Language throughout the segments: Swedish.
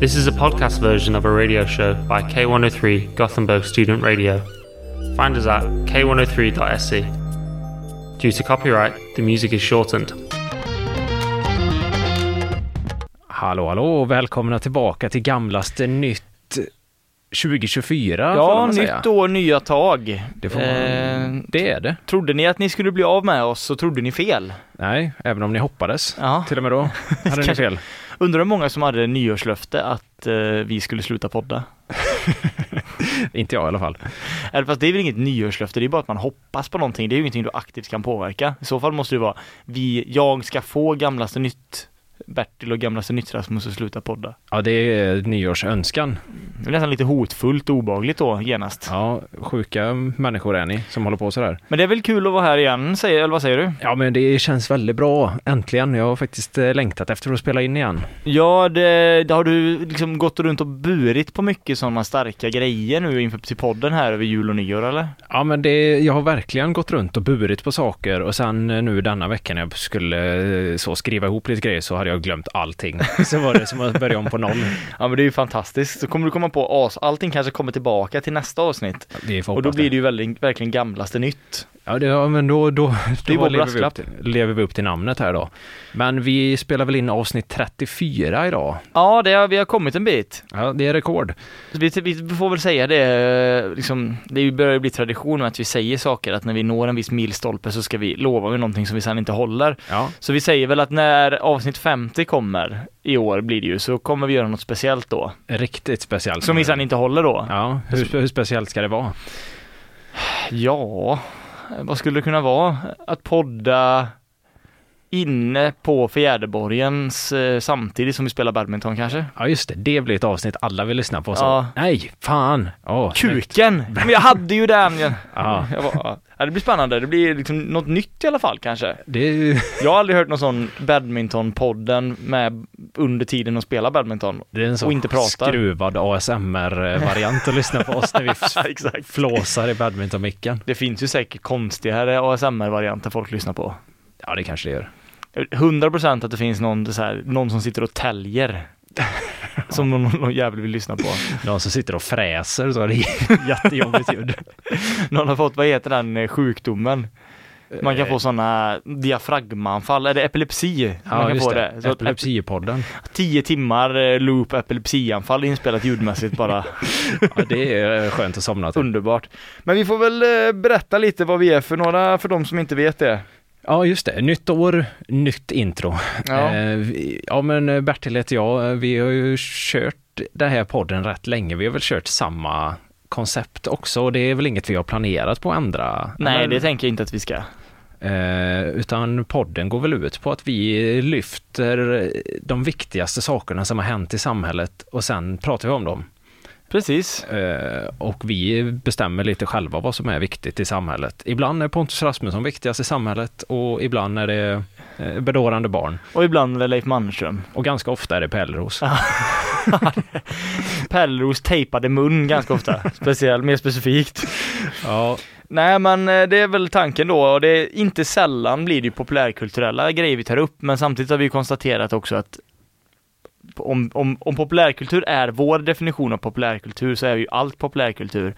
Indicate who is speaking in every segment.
Speaker 1: This is a podcast version of a radio show by K103 Gothenburg Student Radio. Find us at k103.se. E. Due to copyright, the music is shortened.
Speaker 2: Hallå, hallå och välkomna tillbaka till gamlaste nytt 2024 får
Speaker 3: Ja,
Speaker 2: man säga.
Speaker 3: nytt år, nya tag.
Speaker 2: Det, får man...
Speaker 3: Eh,
Speaker 2: det är det.
Speaker 3: trodde ni att ni skulle bli av med oss så trodde ni fel.
Speaker 2: Nej, även om ni hoppades.
Speaker 3: Ja.
Speaker 2: Till och med då hade ni
Speaker 3: Kanske-
Speaker 2: fel.
Speaker 3: Undrar hur många som hade nyårslöfte att eh, vi skulle sluta podda.
Speaker 2: Inte jag i alla fall.
Speaker 3: Eller fast det är väl inget nyårslöfte, det är bara att man hoppas på någonting. Det är ju ingenting du aktivt kan påverka. I så fall måste det vara, vi, jag ska få gamlaste nytt Bertil och gamlaste nytt Rasmus att sluta podda.
Speaker 2: Ja, det är nyårsönskan.
Speaker 3: Det är nästan lite hotfullt och obagligt då genast.
Speaker 2: Ja, sjuka människor är ni som håller på sådär.
Speaker 3: Men det är väl kul att vara här igen, säger, eller vad säger du?
Speaker 2: Ja, men det känns väldigt bra. Äntligen. Jag har faktiskt eh, längtat efter att spela in igen.
Speaker 3: Ja, det, det har du liksom gått runt och burit på mycket sådana starka grejer nu inför till podden här över jul och nyår eller?
Speaker 2: Ja, men det, jag har verkligen gått runt och burit på saker och sen eh, nu denna vecka när jag skulle eh, så skriva ihop lite grejer så hade jag glömt allting. Så var det som att börja om på noll.
Speaker 3: Ja men det är ju fantastiskt, så kommer du komma på as, allting kanske kommer tillbaka till nästa avsnitt.
Speaker 2: Vi får
Speaker 3: Och då
Speaker 2: hoppas
Speaker 3: blir det ju väldigt, verkligen gamlaste nytt.
Speaker 2: Ja, det, ja men då, då,
Speaker 3: Det är
Speaker 2: då
Speaker 3: vår
Speaker 2: lever, vi upp,
Speaker 3: brasklapp.
Speaker 2: till- lever vi upp till namnet här då. Men vi spelar väl in avsnitt 34 idag.
Speaker 3: Ja, det har, vi har kommit en bit.
Speaker 2: Ja, det är rekord.
Speaker 3: Så vi, vi får väl säga det, eh, liksom, det börjar ju bli tradition att vi säger saker, att när vi når en viss milstolpe så ska vi lova med någonting som vi sen inte håller.
Speaker 2: Ja,
Speaker 3: Så vi säger väl att när avsnitt 50 kommer i år blir det ju, så kommer vi göra något speciellt då.
Speaker 2: riktigt speciellt.
Speaker 3: Som vi sen inte håller då?
Speaker 2: Ja, hur, hur speciellt ska det vara?
Speaker 3: Ja, vad skulle det kunna vara? Att podda inne på Fjäderborgens eh, samtidigt som vi spelar badminton kanske?
Speaker 2: Ja, just det. Det blir ett avsnitt alla vill lyssna på. Så.
Speaker 3: Ja.
Speaker 2: Nej, fan! Oh,
Speaker 3: Kuken! Men jag hade ju den! Jag,
Speaker 2: Ja,
Speaker 3: jag bara, ja, det blir spännande, det blir liksom något nytt i alla fall kanske.
Speaker 2: det är ju-
Speaker 3: Jag har aldrig hört någon sån badmintonpodden med under tiden de spelar badminton.
Speaker 2: det är en sån
Speaker 3: Och inte pratar.
Speaker 2: skruvad ASMR-variant att lyssna på oss när vi f-
Speaker 3: Exakt.
Speaker 2: flåsar i badmintonmicken.
Speaker 3: Det finns ju säkert konstigare ASMR-varianter folk lyssnar på.
Speaker 2: Ja, det kanske det gör.
Speaker 3: 100% att det finns någon, så här, någon som sitter och täljer. Som någon, någon jävel vill lyssna på.
Speaker 2: Någon som sitter och fräser så är det jättejobbigt ljud.
Speaker 3: Någon har fått, vad heter den eh, sjukdomen? Man kan få sådana diafragmanfall, eller epilepsi. man
Speaker 2: Eh. Ja,
Speaker 3: kan
Speaker 2: just
Speaker 3: få
Speaker 2: det.
Speaker 3: Så att
Speaker 2: Epilepsipodden.
Speaker 3: ep- tio timmar eh, loop epilepsianfall inspelat ljudmässigt bara.
Speaker 2: Ja, det är eh, skönt att somna till.
Speaker 3: Underbart. Men vi får väl eh, berätta lite vad vi är för några, för de som inte vet det.
Speaker 2: Ja, just det. Nytt år, nytt intro.
Speaker 3: Ja.
Speaker 2: Eh, vi- ja, men eh, Bertil heter jag. Eh, Vi har ju kört den här podden rätt länge. Vi har väl kört samma koncept också och det är väl inget vi har planerat på att ändra.
Speaker 3: Nej,
Speaker 2: Eller?
Speaker 3: det tänker jag inte att vi ska.
Speaker 2: Eh, utan podden går väl ut på att vi lyfter de viktigaste sakerna som har hänt i samhället och sen pratar vi om dem.
Speaker 3: Precis.
Speaker 2: Eh, och vi bestämmer lite själva vad som är viktigt i samhället. Ibland är Pontus Rasmusson viktigast i samhället och ibland är det eh, bedårande barn.
Speaker 3: Och ibland är det Leif Mannerström.
Speaker 2: Och ganska ofta är det Pärleros.
Speaker 3: Pärleros tejpade mun ganska ofta. Speciellt, mer specifikt.
Speaker 2: Ja,
Speaker 3: Nej men eh, det är väl tanken då och det är inte sällan blir det ju populärkulturella grejer vi tar upp men samtidigt har vi ju konstaterat också att om, om, om populärkultur är vår definition av populärkultur så är ju allt populärkultur.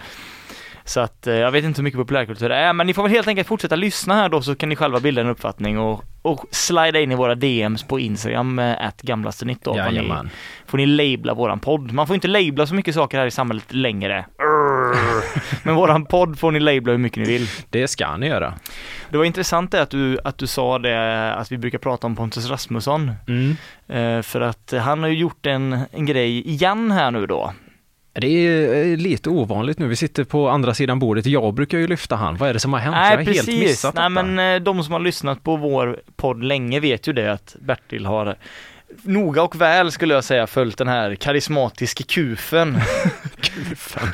Speaker 3: Så att eh, jag vet inte hur mycket populärkultur det är men ni får väl helt enkelt fortsätta lyssna här då så kan ni själva bilda en uppfattning och, och slida in i vora DMs på Instagram att gamlaste nytt då. Vad ni,
Speaker 2: jajamän.
Speaker 3: får ni labla våran podd. Man får inte labla så mycket saker här i samhället längre. Urr. Men våran podd får ni labla hur mycket ni vill.
Speaker 2: Det ska ni göra.
Speaker 3: Det var intressant det att du, att du sa det att vi brukar prata om Pontus Rasmusson. Eh, För att han har ju gjort en, en grej igen här nu då.
Speaker 2: Det är eh, lite ovanligt nu. Vi sitter på andra sidan bordet. Jag brukar ju lyfta han. Vad är det som har hänt? jag har helt missat
Speaker 3: Nej
Speaker 2: detta.
Speaker 3: men eh, de som har lyssnat på vår podd länge vet ju det att Bertil har noga och väl skulle jag säga följt den här karismatiske kufen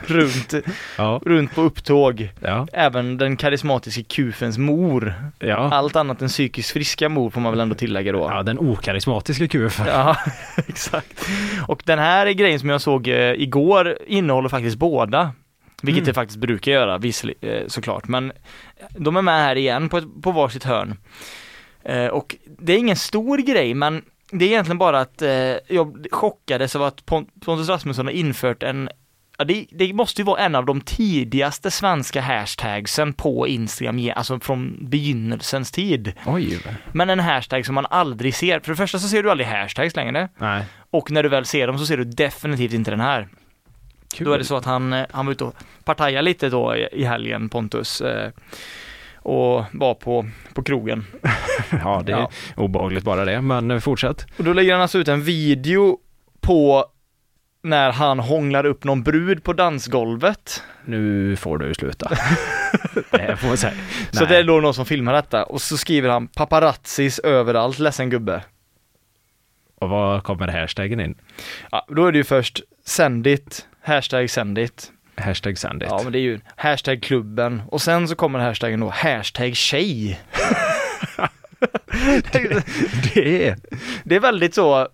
Speaker 3: runt,
Speaker 2: Ja,
Speaker 3: runt på upptåg.
Speaker 2: ja,
Speaker 3: Även den karismatiske kufens mor.
Speaker 2: ja.
Speaker 3: Allt annat än psykiskt friska mor får man väl ändå tillägga då.
Speaker 2: ja den okarismatiska QF.
Speaker 3: Ja, exakt. Och den här grejen som jag såg eh, igår innehåller faktiskt båda. Vilket det faktiskt brukar göra, vissel- eh, såklart. Men Eh, de är med här igen på, ett, på varsitt hörn. Eh, och det är ingen stor grej, men det är egentligen bara att eh, jag chockades av att Pont- Pontus Rasmusson har infört en Ja, det, det måste ju vara en av de tidigaste svenska hashtagsen på Instagram, ge- alltså från begynnelsens tid.
Speaker 2: Oj.
Speaker 3: Men en hashtag som man aldrig ser. För det första så ser du aldrig hashtags längre.
Speaker 2: Nej.
Speaker 3: Och när du väl ser dem så ser du definitivt inte den här.
Speaker 2: Kul.
Speaker 3: Då är det så att han, eh, han var ute och partajade lite då i i helgen, Pontus. eh, Och var på, på krogen.
Speaker 2: Ja, det är
Speaker 3: Ja.
Speaker 2: obehagligt bara det, men eh, fortsätt.
Speaker 3: Och då lägger han alltså ut en video på när han hånglar upp någon brud på dansgolvet.
Speaker 2: Nu får du sluta. det här får jag säga.
Speaker 3: Så
Speaker 2: Nej.
Speaker 3: det är då någon som filmar detta och så skriver han paparazzis överallt, ledsen gubbe.
Speaker 2: Och var kommer hashtaggen in?
Speaker 3: Ja, då är det ju först send it, hashtag send it.
Speaker 2: Hashtag send it.
Speaker 3: Ja men det är ju hashtag klubben och sen så kommer hashtaggen då hashtag tjej.
Speaker 2: det är...
Speaker 3: Det är väldigt så,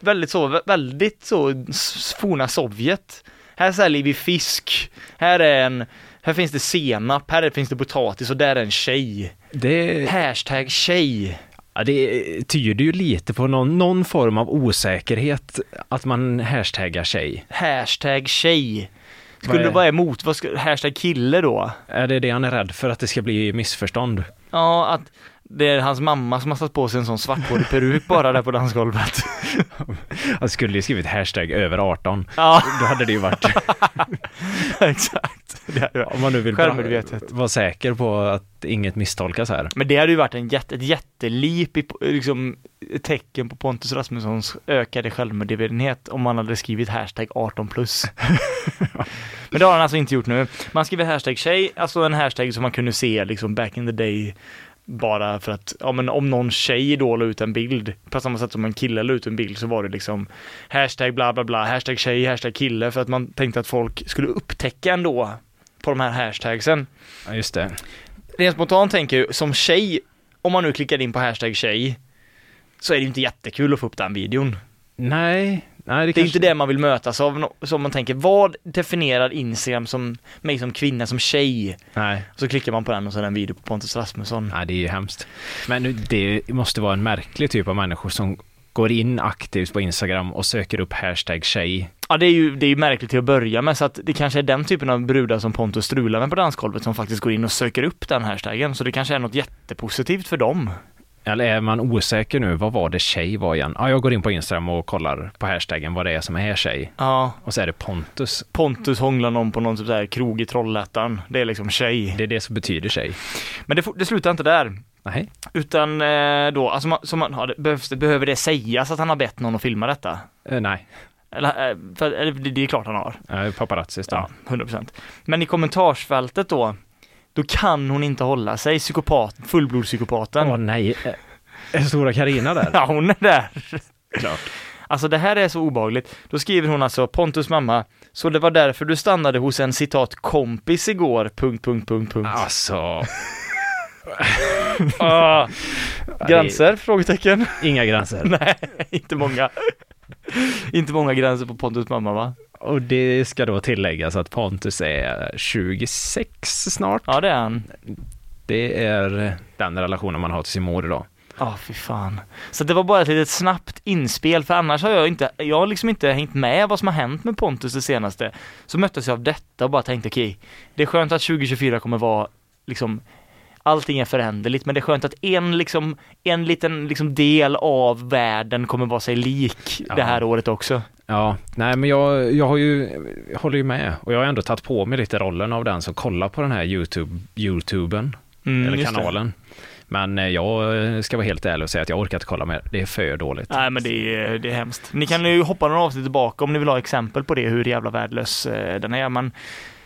Speaker 3: väldigt så, vä- väldigt så s- forna Sovjet. Här säljer vi fisk, här är en, här finns det senap, här finns det potatis och där är en tjej.
Speaker 2: Det,
Speaker 3: Hashtag tjej.
Speaker 2: ja, det tyder ju lite på någon, någon form av osäkerhet att man hashtaggar sig.
Speaker 3: Hashtag tjej. Skulle
Speaker 2: Vad är-
Speaker 3: det vara emot, vad skulle, hashtag kille då?
Speaker 2: Är det det han är rädd för, att det ska bli missförstånd?
Speaker 3: Ja, att det är hans mamma som har satt på sig en sån svarthårig peruk bara där på dansgolvet.
Speaker 2: Han skulle ju skrivit hashtag över 18.
Speaker 3: Ja,
Speaker 2: Då hade det ju varit,
Speaker 3: exakt. Det hade varit-
Speaker 2: om man nu vill
Speaker 3: Självmedvetet.
Speaker 2: vara säker på att inget misstolkas här.
Speaker 3: Men det hade ju varit en jätte, ett jättelip i liksom, ett tecken på Pontus Rasmussons ökade självmedvetenhet om man hade skrivit hashtag 18 plus. Men det har han alltså inte gjort nu. Man skriver hashtag tjej, alltså en hashtag som man kunde se liksom back in the day bara för att, ja men om någon tjej då la ut en bild, på samma sätt som en kille la ut en bild så var det liksom hashtag bla bla bla, hashtag tjej, hashtag kille för att man tänkte att folk skulle upptäcka ändå på de här hashtagsen.
Speaker 2: Ja, just det.
Speaker 3: Rent spontant tänker jag som tjej, om man nu klickar in på hashtag tjej, så är det ju inte jättekul att få upp den videon.
Speaker 2: Nej, nej det,
Speaker 3: Det är ju
Speaker 2: kanske...
Speaker 3: inte det man vill mötas av, no- som man tänker, vad definierar Instagram som mig som kvinna, som tjej?
Speaker 2: Nej.
Speaker 3: Så klickar man på den och så är det en video på Pontus Rasmusson.
Speaker 2: nej, det är ju hemskt. Men nu, det måste vara en märklig typ av människor som går in aktivt på Instagram och söker upp hashtag tjej.
Speaker 3: Ja, det är ju, det är ju märkligt till att börja med, så att det kanske är den typen av brudar som Pontus strular med på dansgolvet som faktiskt går in och söker upp den hashtaggen, så det kanske är något jättepositivt för dem.
Speaker 2: Eller är man osäker nu, vad var det tjej var igen? Ja, jag går in på Instagram och kollar på hashtaggen vad det är som är tjej.
Speaker 3: Ja,
Speaker 2: Och så är det Pontus.
Speaker 3: Pontus hånglar någon på någon typ så här krog i Trollhättan. Det är liksom tjej.
Speaker 2: Det är det som betyder tjej.
Speaker 3: Men det, fo- det slutar inte där.
Speaker 2: Nej.
Speaker 3: Utan eh, då, alltså man, som man har, det, behövs, det, behöver det sägas att han har bett någon att filma detta?
Speaker 2: Eh, nej.
Speaker 3: Eller, eh, för, eller det, det är klart han har.
Speaker 2: Eh, paparazzis då.
Speaker 3: Ja, 100%. Men i kommentarsfältet då, då kan hon inte hålla sig, psykopat, fullblodspsykopaten.
Speaker 2: Åh nej. Är stora Karina där?
Speaker 3: Ja, hon är där.
Speaker 2: Klart.
Speaker 3: Alltså det här är så obagligt. Då skriver hon alltså, Pontus mamma, så det var därför du stannade hos en citat kompis igår, punkt, punkt, punkt, punkt.
Speaker 2: Alltså,
Speaker 3: Ah. Gränser? Frågetecken?
Speaker 2: inga gränser.
Speaker 3: Nej, inte många. inte många gränser på Pontus mamma va?
Speaker 2: Och det ska då tilläggas att Pontus är 26 snart.
Speaker 3: Ja, det är han.
Speaker 2: Det är eh, den relationen man har till sin mor idag.
Speaker 3: Ja, fy fan. Så det var bara ett litet snabbt inspel, för annars har jag inte, jag har liksom inte hängt med vad som har hänt med Pontus det senaste. Så möttes jag av detta och bara tänkte okej, det är skönt att 2024 kommer vara liksom Allting är föränderligt, men det är skönt att en, liksom, en liten liksom, del av världen kommer vara sig lik
Speaker 2: Ja.
Speaker 3: det här året också.
Speaker 2: Ja, nej men jag, jag har ju, jag håller ju med. Och jag har ändå tagit på mig lite rollen av den som kollar på den här YouTube, YouTuben,
Speaker 3: Mm,
Speaker 2: eller
Speaker 3: just det.
Speaker 2: kanalen. Men eh, jag eh, ska vara helt ärlig och säga att jag orkar inte kolla mer. Det är för dåligt.
Speaker 3: Nej men det är, det är hemskt. Ni kan ju hoppa några avsnitt tillbaka om ni vill ha exempel på det, hur jävla värdelös eh, den är. Men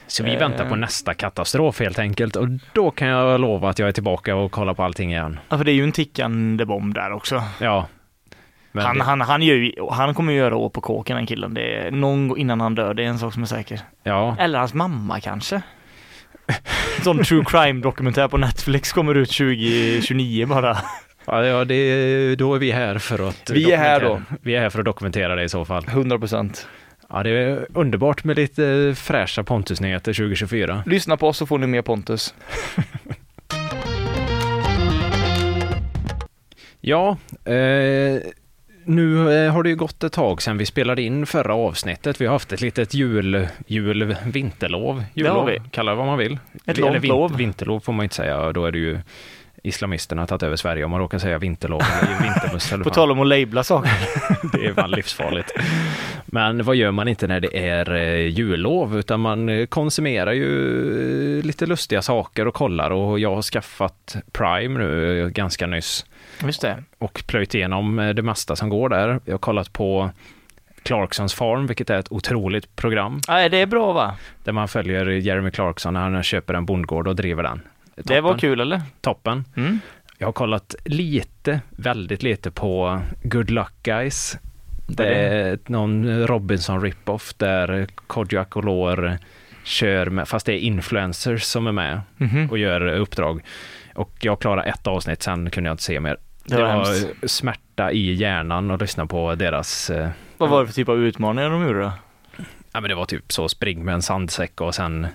Speaker 2: Så vi
Speaker 3: Eh.
Speaker 2: väntar på nästa katastrof helt enkelt. Och då kan jag lova att jag är tillbaka och kollar på allting igen.
Speaker 3: ja, för det är ju en tickande bomb där också.
Speaker 2: Ja. Men
Speaker 3: Han,
Speaker 2: det,
Speaker 3: han, han, gör ju, han kommer ju göra år på kåken den killen. Det är någon gång innan han dör, det är en sak som är säker.
Speaker 2: ja,
Speaker 3: Eller hans mamma kanske? En sån true crime-dokumentär på Netflix kommer ut 2029 bara.
Speaker 2: ja, ja det, då är vi här för att
Speaker 3: Vi är här då.
Speaker 2: dokumentera- Vi är här för att dokumentera det i så fall.
Speaker 3: 100%.
Speaker 2: Ja, det är underbart med lite eh, fräscha Pontus-nyheter 2024.
Speaker 3: Lyssna på oss så får ni mer Pontus.
Speaker 2: Ja, eh, nu eh, har det ju gått ett tag sedan vi spelade in förra avsnittet. Vi har haft ett litet jul, jul vinterlov.
Speaker 3: Det har
Speaker 2: Jullov,
Speaker 3: vi.
Speaker 2: kalla det vad man vill.
Speaker 3: Ett
Speaker 2: Eller
Speaker 3: långt lov.
Speaker 2: Vinterlov får man inte säga, då är det ju islamisterna har tagit över Sverige om man råkar säga vinterlov eller vinterbuss eller
Speaker 3: På
Speaker 2: vad
Speaker 3: tal om att labla saker.
Speaker 2: Det är fan livsfarligt. Men vad gör man inte när det är eh, jullov? Utan man eh, konsumerar ju eh, lite lustiga saker och kollar och jag har skaffat Prime nu eh, ganska nyss
Speaker 3: Just det.
Speaker 2: och plöjt igenom eh, det mesta som går där. Jag har kollat på Clarksons Farm, vilket är ett otroligt program
Speaker 3: Nej, det är bra va?
Speaker 2: där man följer Jeremy Clarkson när han köper en bondgård och driver den.
Speaker 3: Det var
Speaker 2: Toppen.
Speaker 3: kul eller?
Speaker 2: Toppen.
Speaker 3: Mm.
Speaker 2: Jag har kollat lite, väldigt lite på Good Luck Guys. Det
Speaker 3: Vad är det?
Speaker 2: är ett- Eh, någon Robinson rip-off där Kodjo Akolor kör med, fast det är influencers som är med
Speaker 3: Mhm.
Speaker 2: och gör uppdrag. Och jag klarade ett avsnitt, sen kunde jag inte se mer.
Speaker 3: Det var hemskt.
Speaker 2: smärta i hjärnan och lyssna på deras, eh,
Speaker 3: Vad var det för typ av utmaningar de gjorde då?
Speaker 2: ja men det var typ så spring med en sandsäck och sen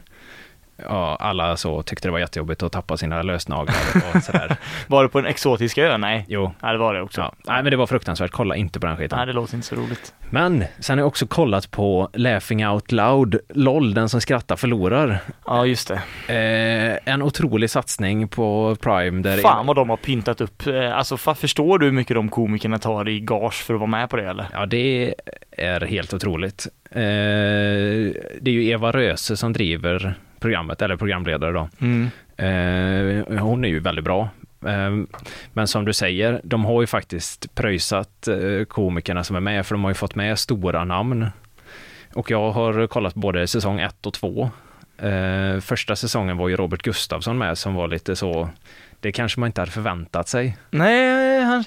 Speaker 2: Ja, alla så tyckte det var jättejobbigt att tappa sina lösnaglar och sådär.
Speaker 3: Var det på en exotisk ö? Nej.
Speaker 2: Jo,
Speaker 3: Ja, det var det också.
Speaker 2: Ja, nej men det var fruktansvärt, kolla inte på den skiten.
Speaker 3: Nej, det låter inte så roligt.
Speaker 2: Men sen har jag också kollat på Laughing Out Loud, LOL, den som skrattar förlorar.
Speaker 3: Ja, just det.
Speaker 2: Eh, en otrolig satsning på Prime där
Speaker 3: Fan vad de har pyntat upp. eh, Alltså, fa- förstår du hur mycket de komikerna tar i gage för att vara med på det eller?
Speaker 2: Ja, det är helt otroligt. Eh, det är ju Eva Röse som driver programmet, eller programledare då.
Speaker 3: Mm.
Speaker 2: Eh, hon är ju väldigt bra. Eh, men som du säger, de har ju faktiskt pröjsat eh, komikerna som är med, för de har ju fått med stora namn. Och jag har kollat både säsong 1 och 2. Eh, första säsongen var ju Robert Gustafsson med som var lite så, det kanske man inte hade förväntat sig.
Speaker 3: Nej, han...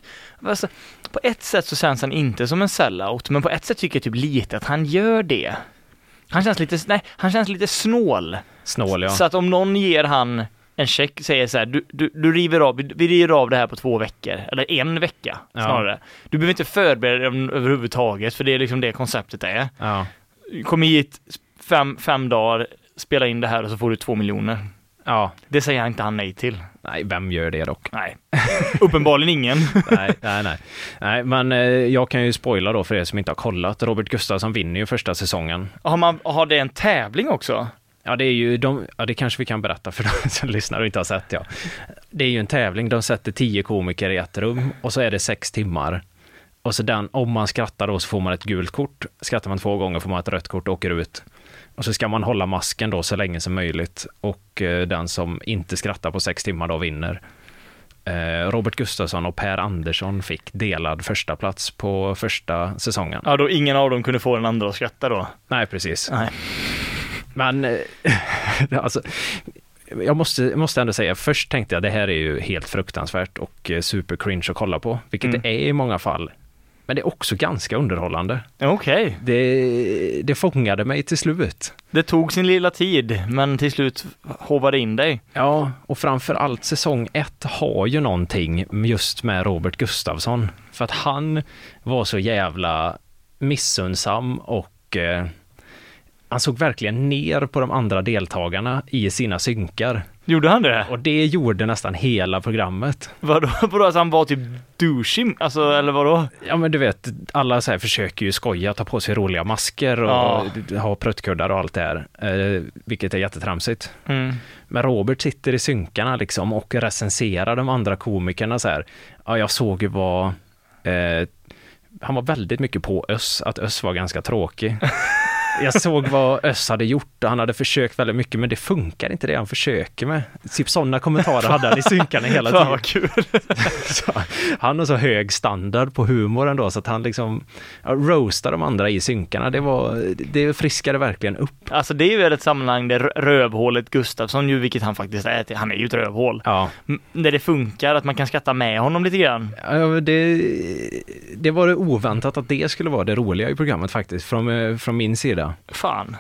Speaker 3: Alltså, på ett sätt så känns han inte som en sellout, men på ett sätt tycker jag typ lite att han gör det. Han känns lite, nej, han känns lite snål.
Speaker 2: Snål ja.
Speaker 3: Så att om någon ger han en check, säger så här, du, du, du river av, vi river av det här på två veckor, eller en vecka
Speaker 2: Ja.
Speaker 3: snarare. Du behöver inte förbereda dig överhuvudtaget, för det är liksom det konceptet är.
Speaker 2: ja.
Speaker 3: Kom hit fem, fem dagar, spela in det här och så får du två miljoner.
Speaker 2: Ja,
Speaker 3: Det säger han inte han nej till.
Speaker 2: nej, vem gör det dock?
Speaker 3: Nej. Uppenbarligen ingen.
Speaker 2: nej, nej, nej. nej, men eh, jag kan ju spoila då för er som inte har kollat. Robert Gustafsson vinner ju första säsongen.
Speaker 3: Har, man, har det en tävling också?
Speaker 2: Ja, det är ju de, ja, det kanske vi kan berätta för de som lyssnar och inte har sett, ja. Det är ju en tävling, de sätter tio komiker i ett rum och så är det sex timmar. Och så den, om man skrattar då så får man ett gult kort. Skrattar man två gånger får man ett rött kort och åker ut. Och så ska man hålla masken då så länge som möjligt och eh, den som inte skrattar på sex timmar då vinner. Eh, Robert Gustafsson och Per Andersson fick delad första plats på första säsongen.
Speaker 3: Ja, då ingen av dem kunde få den andra att skratta då.
Speaker 2: Nej, precis.
Speaker 3: Nej.
Speaker 2: Men eh, alltså, jag måste, jag måste ändå säga, först tänkte jag det här är ju helt fruktansvärt och eh, super cringe att kolla på, vilket
Speaker 3: Mm.
Speaker 2: det är i många fall. Men det är också ganska underhållande.
Speaker 3: Okej.
Speaker 2: Det, det fångade mig till slut.
Speaker 3: Det tog sin lilla tid, men till slut håvade in dig.
Speaker 2: Ja, och framför allt säsong ett har ju någonting just med Robert Gustafsson. För att han var så jävla missunnsam och eh, han såg verkligen ner på de andra deltagarna i sina synkar.
Speaker 3: Gjorde han det?
Speaker 2: Och det gjorde nästan hela programmet.
Speaker 3: Vadå, vadå alltså han var typ douchig, alltså eller vadå?
Speaker 2: Ja men du vet, alla så här försöker ju skoja, ta på sig roliga masker och
Speaker 3: Ja.
Speaker 2: ha pruttkuddar och allt det här. Eh, vilket är jättetramsigt.
Speaker 3: Mm.
Speaker 2: Men Robert sitter i synkarna liksom och recenserar de andra komikerna så här. Ja, jag såg ju vad... Eh, han var väldigt mycket på Öss, att Öss var ganska tråkig. Jag såg vad Öss hade gjort och han hade försökt väldigt mycket men det funkar inte det han försöker med. Typ sådana kommentarer hade han i synkarna hela
Speaker 3: Fan
Speaker 2: tiden.
Speaker 3: vad kul.
Speaker 2: Så, han har så hög standard på humor ändå så att han liksom ja, roastar de andra i synkarna. Det, var, det friskade verkligen upp.
Speaker 3: Alltså det är ju ett sammanhang där rö- rövhålet Gustafsson ju, vilket han faktiskt är, till- han är ju ett rövhål.
Speaker 2: Ja,
Speaker 3: M- Där det funkar, att man kan skratta med honom lite grann.
Speaker 2: Ja, men det, det var det oväntat att det skulle vara det roliga i programmet faktiskt, från, eh, från min sida.
Speaker 3: Fan.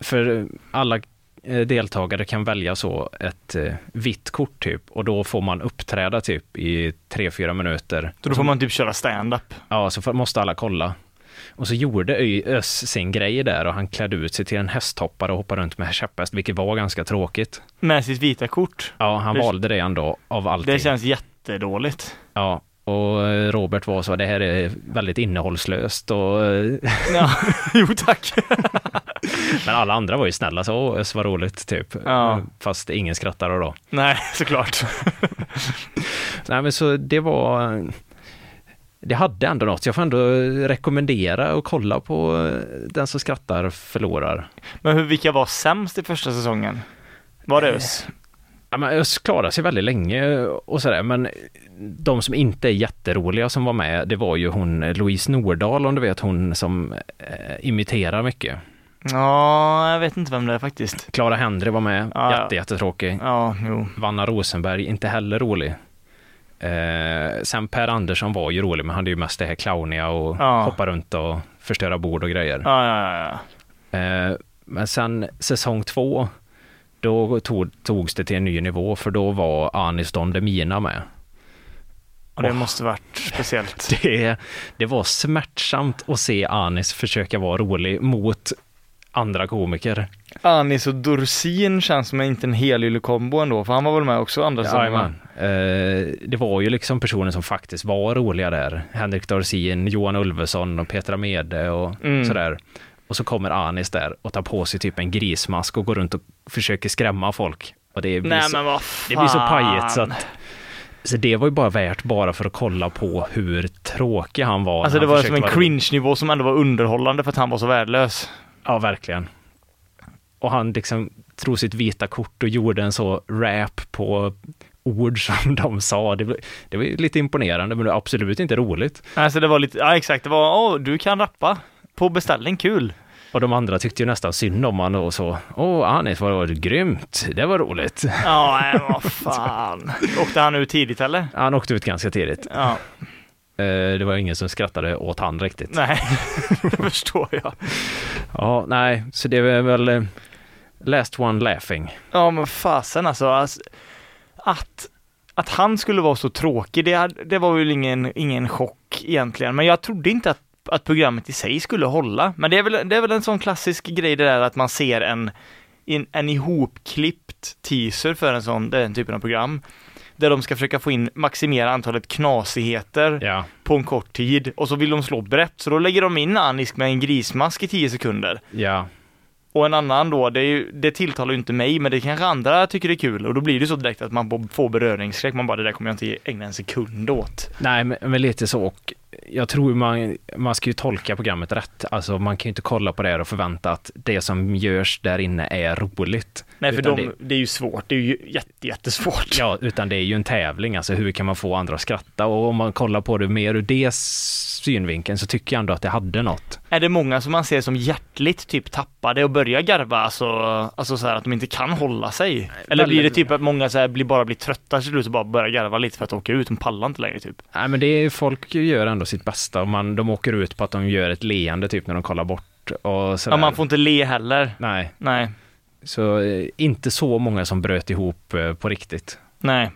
Speaker 2: För eh, alla eh, deltagare kan välja så ett eh, vitt kort typ och då får man uppträda typ i tre fyra minuter.
Speaker 3: Så då får man typ köra stand-up.
Speaker 2: Ja, så får- måste alla kolla. Och så gjorde Ö- Ös sin grej där och han klädde ut sig till en hästhoppare och hoppade runt med käpphäst, vilket var ganska tråkigt.
Speaker 3: Med sitt vita kort.
Speaker 2: Ja, han
Speaker 3: Det-
Speaker 2: valde det ändå av allting.
Speaker 3: Det känns jättedåligt.
Speaker 2: Ja, Och eh, Robert var så, det här är väldigt innehållslöst och... eh,
Speaker 3: Ja. jo tack.
Speaker 2: Men alla andra var ju snälla så, åh ös vad roligt typ.
Speaker 3: Ja.
Speaker 2: Fast ingen skrattade då.
Speaker 3: Nej, såklart.
Speaker 2: Så, nej men så det var... Det hade ändå något, jag får ändå rekommendera och kolla på eh, den som skrattar förlorar.
Speaker 3: Men hur, vilka var sämst i första säsongen? Var det Ös?
Speaker 2: Ja, men Öss klarade sig väldigt länge och sådär, men de som inte är jätteroliga som var med, det var ju hon Louise Nordahl, om du vet, hon som eh, imiterar mycket.
Speaker 3: Ja, jag vet inte vem det är faktiskt.
Speaker 2: Clara Henry var med,
Speaker 3: Ja, ja.
Speaker 2: jätte, jättetråkig.
Speaker 3: Ja, jo.
Speaker 2: Vanna Rosenberg, inte heller rolig. Eh, sen Per Andersson var ju rolig, men han hade ju mest det här clowniga och
Speaker 3: Ja.
Speaker 2: hoppa runt och förstöra bord och grejer.
Speaker 3: Ja, ja, ja, ja.
Speaker 2: Eh, men sen säsong två, då tog, togs det till en ny nivå, för då var Anis Don Demina med.
Speaker 3: Och det
Speaker 2: Åh.
Speaker 3: måste varit speciellt.
Speaker 2: det, det var smärtsamt att se Anis försöka vara rolig mot andra komiker.
Speaker 3: Anis och Dorsin känns som inte en helylle kombo ändå, för han var väl med också andra
Speaker 2: Jajamän. Eh, det var ju liksom personer som faktiskt var roliga där. Henrik Dorsin, Johan Ulveson och Petra Mede och
Speaker 3: Mm.
Speaker 2: sådär. Och så kommer Anis där och tar på sig typ en grismask och går runt och försöker skrämma folk. Och det blir,
Speaker 3: Nej
Speaker 2: så,
Speaker 3: men vad fan.
Speaker 2: det blir så pajigt så att så det var ju bara värt bara för att kolla på hur tråkig han var. när
Speaker 3: Alltså det
Speaker 2: han
Speaker 3: var som
Speaker 2: försökte
Speaker 3: en
Speaker 2: vara rolig.
Speaker 3: cringe-nivå som ändå var underhållande för att han var så värdelös.
Speaker 2: Ja, verkligen. Och han liksom drog sitt vita kort och gjorde en så rap på ord som de sa. Det var, det var ju lite imponerande, men det var absolut inte roligt.
Speaker 3: Alltså det var lite, ja exakt, det var, åh du kan rappa. På beställning, kul.
Speaker 2: Och de andra tyckte ju nästan synd om honom och så. Åh, Anis, vad var det grymt. Det var roligt.
Speaker 3: Ja, nej, vad fan. Åkte han ut tidigt eller?
Speaker 2: Han åkte ut ganska tidigt.
Speaker 3: Ja,
Speaker 2: Eh, Det var ingen som skrattade åt han riktigt.
Speaker 3: nej. det förstår jag.
Speaker 2: Ja, nej, så det är väl eh, last one laughing.
Speaker 3: Ja men fasen alltså, alltså att, att han skulle vara så tråkig, det, hade- det var väl ingen, ingen chock egentligen. Men jag trodde inte att, att programmet i sig skulle hålla. Men det är, väl, det är väl en sån klassisk grej det där att man ser en, en, en ihopklippt teaser för en sån, den typen av program. Där de ska försöka få in, maximera antalet knasigheter
Speaker 2: Ja,
Speaker 3: på en kort tid. Och så vill de slå brett, så då lägger de in Anisk med en grismask i 10 sekunder.
Speaker 2: ja,
Speaker 3: Och en annan då, det, är ju, det tilltalar ju inte mig, men det kanske andra tycker det är kul. Och då blir det så direkt att man bo- får beröringsskräck. Man bara, det där kommer jag inte ägna en sekund åt.
Speaker 2: Nej, men, men lite så. Och jag tror man, man ska ju tolka programmet rätt. Alltså man kan ju inte kolla på det här och förvänta att det som görs där inne är roligt.
Speaker 3: Nej, för
Speaker 2: utan,
Speaker 3: de, det...
Speaker 2: det,
Speaker 3: är ju svårt. Det är ju jätte, jättesvårt.
Speaker 2: ja, utan det är ju en tävling. Alltså hur kan man få andra att skratta? Och om man kollar på det mer ur det synvinkeln så tycker jag ändå att det hade något.
Speaker 3: Är det många som man ser som hjärtligt typ tappade och börjar garva, alltså, alltså så här att de inte kan hålla sig? Eller blir det
Speaker 2: väldigt-
Speaker 3: typ att många så här blir, bara blir trötta till slut och bara börjar garva lite för att åka ut, de pallar inte längre typ?
Speaker 2: Nej, men det är, folk gör ändå sitt bästa. Och man, de åker ut på att de gör ett leende typ när de kollar bort. Och sådär.
Speaker 3: Ja, man får inte le heller.
Speaker 2: Nej,
Speaker 3: Nej,
Speaker 2: så eh, inte så många som bröt ihop eh, på riktigt.
Speaker 3: Nej.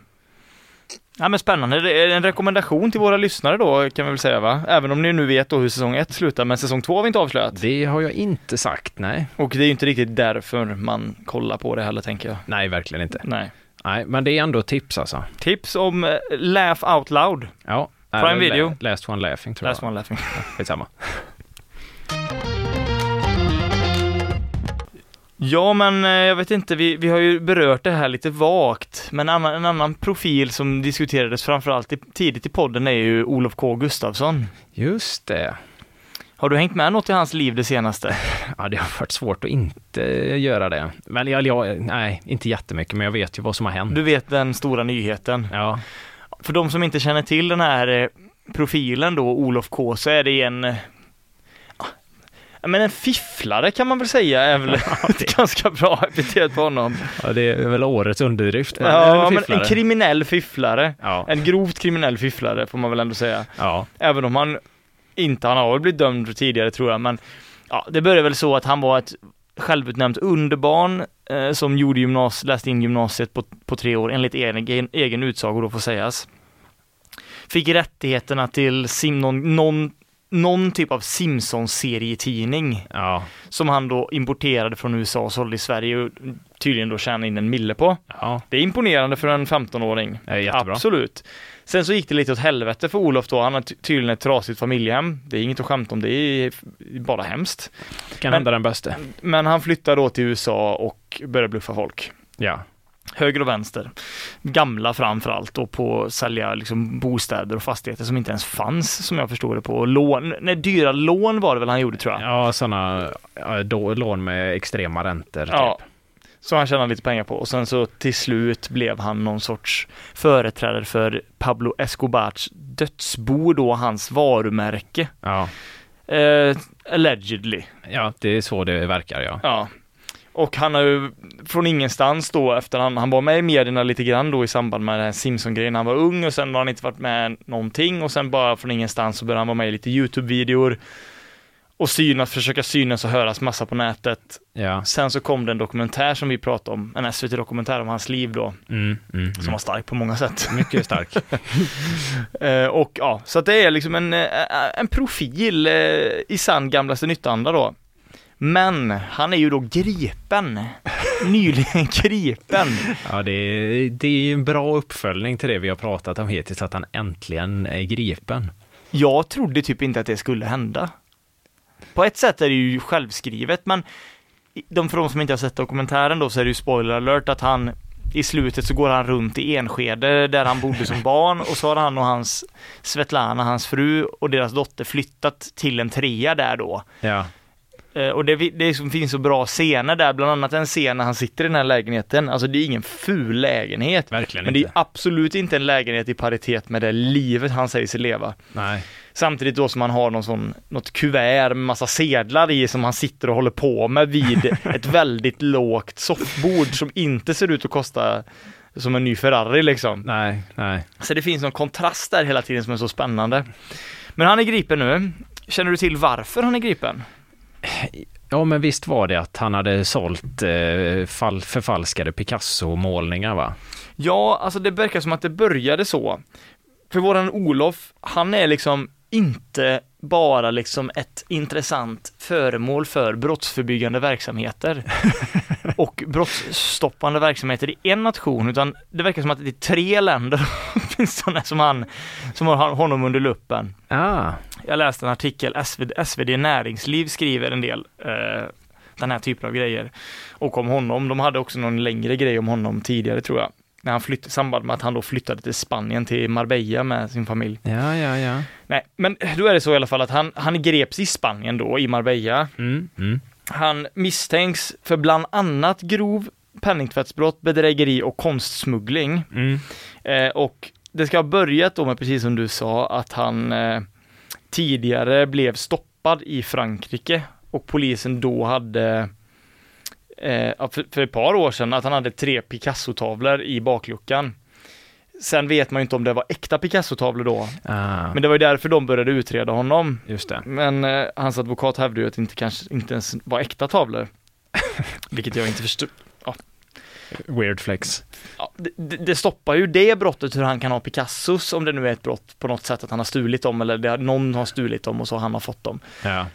Speaker 3: Ja, men spännande. Det är en rekommendation till våra lyssnare då kan vi väl säga va? Även om ni nu vet då hur säsong 1 slutar, men säsong 2 har vi inte avslöjat.
Speaker 2: Det har jag inte sagt, nej.
Speaker 3: Och det är ju inte riktigt därför man kollar på det heller tänker jag.
Speaker 2: Nej, verkligen inte.
Speaker 3: Nej.
Speaker 2: Nej, men det är ändå tips alltså.
Speaker 3: Tips om eh, Laugh Out Loud.
Speaker 2: Ja.
Speaker 3: Prime
Speaker 2: även
Speaker 3: Video.
Speaker 2: La- Last one laughing tror
Speaker 3: Last
Speaker 2: jag.
Speaker 3: one laughing.
Speaker 2: Skitsamma.
Speaker 3: Ja, men eh, jag vet inte, vi, vi har ju berört det här lite vagt. Men en annan, en annan profil som diskuterades framförallt i, tidigt i podden är ju Olof K Gustafsson.
Speaker 2: Just det.
Speaker 3: Har du hängt med något i hans liv det senaste?
Speaker 2: Ja, det har varit svårt att inte göra det. Men jag, jag, nej, inte jättemycket, men jag vet ju vad som har hänt.
Speaker 3: Du vet den stora nyheten.
Speaker 2: Ja,
Speaker 3: För de som inte känner till den här eh, profilen då, Olof K, så är det en eh, ja, men en fifflare kan man väl säga är väl ett ganska bra epitet på honom.
Speaker 2: ja det är väl årets underdrift. Men,
Speaker 3: Ja,
Speaker 2: eller
Speaker 3: men en
Speaker 2: fifflare.
Speaker 3: kriminell fifflare.
Speaker 2: ja,
Speaker 3: En grovt kriminell fifflare får man väl ändå säga.
Speaker 2: ja,
Speaker 3: Även om han inte, han har väl blivit dömd för tidigare tror jag, men ja, det började väl så att han var ett självutnämnt underbarn eh, som gjorde gymnas läste in gymnasiet på, på tre år enligt egen, egen utsago då får sägas. Fick rättigheterna till sim, någon, någon, någon typ av Simpsons-serietidning
Speaker 2: ja,
Speaker 3: som han då importerade från USA och sålde i Sverige och tydligen då tjänade in en mille på.
Speaker 2: ja,
Speaker 3: Det är imponerande för en 15-åring.
Speaker 2: det är jättebra.
Speaker 3: Absolut. Sen så gick det lite åt helvete för Olof då, han har ty- tydligen ett trasigt familjehem. Det är inget att skämta om, det är bara hemskt.
Speaker 2: Kan
Speaker 3: Men-
Speaker 2: hända den bästa.
Speaker 3: Men han flyttar då till USA och börjar bluffa folk.
Speaker 2: Ja.
Speaker 3: Höger och vänster. Gamla framförallt och på att sälja liksom bostäder och fastigheter som inte ens fanns som jag förstod det på. Och Lån, nej dyra lån var det väl han gjorde tror jag.
Speaker 2: Ja, typ. sådana lån med extrema räntor. Typ.
Speaker 3: Ja. Som han tjänade lite pengar på och sen så till slut blev han någon sorts företrädare för Pablo Escobars dödsbo då, hans varumärke.
Speaker 2: Ja.
Speaker 3: Eh, allegedly.
Speaker 2: ja, det är så det verkar ja.
Speaker 3: Ja. Och han har ju från ingenstans då efter han, han var med i medierna lite grann då i samband med den här Simpson-grejen. Han var ung och sen har han inte varit med någonting och sen bara från ingenstans så började han vara med i lite YouTube-videor och synas, försöka synas och höras massa på nätet.
Speaker 2: Ja.
Speaker 3: Sen så kom det en dokumentär som vi pratade om, en SVT-dokumentär om hans liv då,
Speaker 2: Mm, mm,
Speaker 3: som var stark på många sätt.
Speaker 2: mm. Mycket stark.
Speaker 3: Eh, och ja, så att det är liksom en, eh, en profil eh, i sann gamlaste nyttanda då. Men han är ju då gripen. Nyligen gripen.
Speaker 2: Ja, det är, det är ju en bra uppföljning till det vi har pratat om hittills, att han äntligen är gripen.
Speaker 3: Jag trodde typ inte att det skulle hända. På ett sätt är det ju självskrivet, men i- de, för de som inte har sett dokumentären då så är det ju spoiler alert att han i slutet så går han runt i Enskede där han bodde som barn och så har han och hans Svetlana, hans fru och deras dotter flyttat till en trea där då.
Speaker 2: Ja,
Speaker 3: Eh, Och det, vi- det liksom finns så bra scener där, bland annat en scen när han sitter i den här lägenheten. Alltså det är ingen ful lägenhet.
Speaker 2: verkligen
Speaker 3: Men det är
Speaker 2: inte.
Speaker 3: absolut inte en lägenhet i paritet med det livet han säger sig leva.
Speaker 2: Nej.
Speaker 3: Samtidigt då som han har någon sån, något kuvert med massa sedlar i som han sitter och håller på med vid ett väldigt lågt soffbord som inte ser ut att kosta som en ny Ferrari liksom.
Speaker 2: Nej, nej.
Speaker 3: Så det finns någon kontrast där hela tiden som är så spännande. Men han är gripen nu. Känner du till varför han är gripen?
Speaker 2: Ja, men visst var det att han hade sålt eh, fall, förfalskade Picasso-målningar, va?
Speaker 3: Ja, alltså det verkar som att det började så. För våran Olof, han är liksom inte bara liksom ett intressant föremål för brottsförebyggande verksamheter och brottsstoppande verksamheter i en nation, utan det verkar som att det är tre länder åtminstone som, han, som har honom under luppen.
Speaker 2: Ah,
Speaker 3: Jag läste en artikel, SvD, SvD Näringsliv skriver en del eh, den här typen av grejer. Och om honom, de hade också någon längre grej om honom tidigare tror jag. När han flytt, i samband med att han då flyttade till Spanien, till Marbella med sin familj.
Speaker 2: ja, ja, ja.
Speaker 3: Nej, men då är det så i alla fall att han, han greps i Spanien då, i Marbella.
Speaker 2: Mm, mm.
Speaker 3: Han misstänks för bland annat grov penningtvättsbrott, bedrägeri och konstsmuggling.
Speaker 2: Mm.
Speaker 3: Eh, och det ska ha börjat då med, precis som du sa, att han eh, tidigare blev stoppad i Frankrike och polisen då hade eh, ja, för, för ett par år sedan att han hade tre Picasso-tavlor i bakluckan. Sen vet man ju inte om det var äkta Picasso-tavlor då,
Speaker 2: Ah,
Speaker 3: men det var ju därför de började utreda honom.
Speaker 2: just det.
Speaker 3: Men eh, hans advokat hävdade ju att det inte, kanske, inte ens var äkta tavlor. Vilket jag inte förstod.
Speaker 2: Weird flex.
Speaker 3: Ja, det- det, det stoppar ju det brottet hur han kan ha Picassos om det nu är ett brott på något sätt att han har stulit dem eller det, någon har stulit dem och så han har fått dem.
Speaker 2: Ja.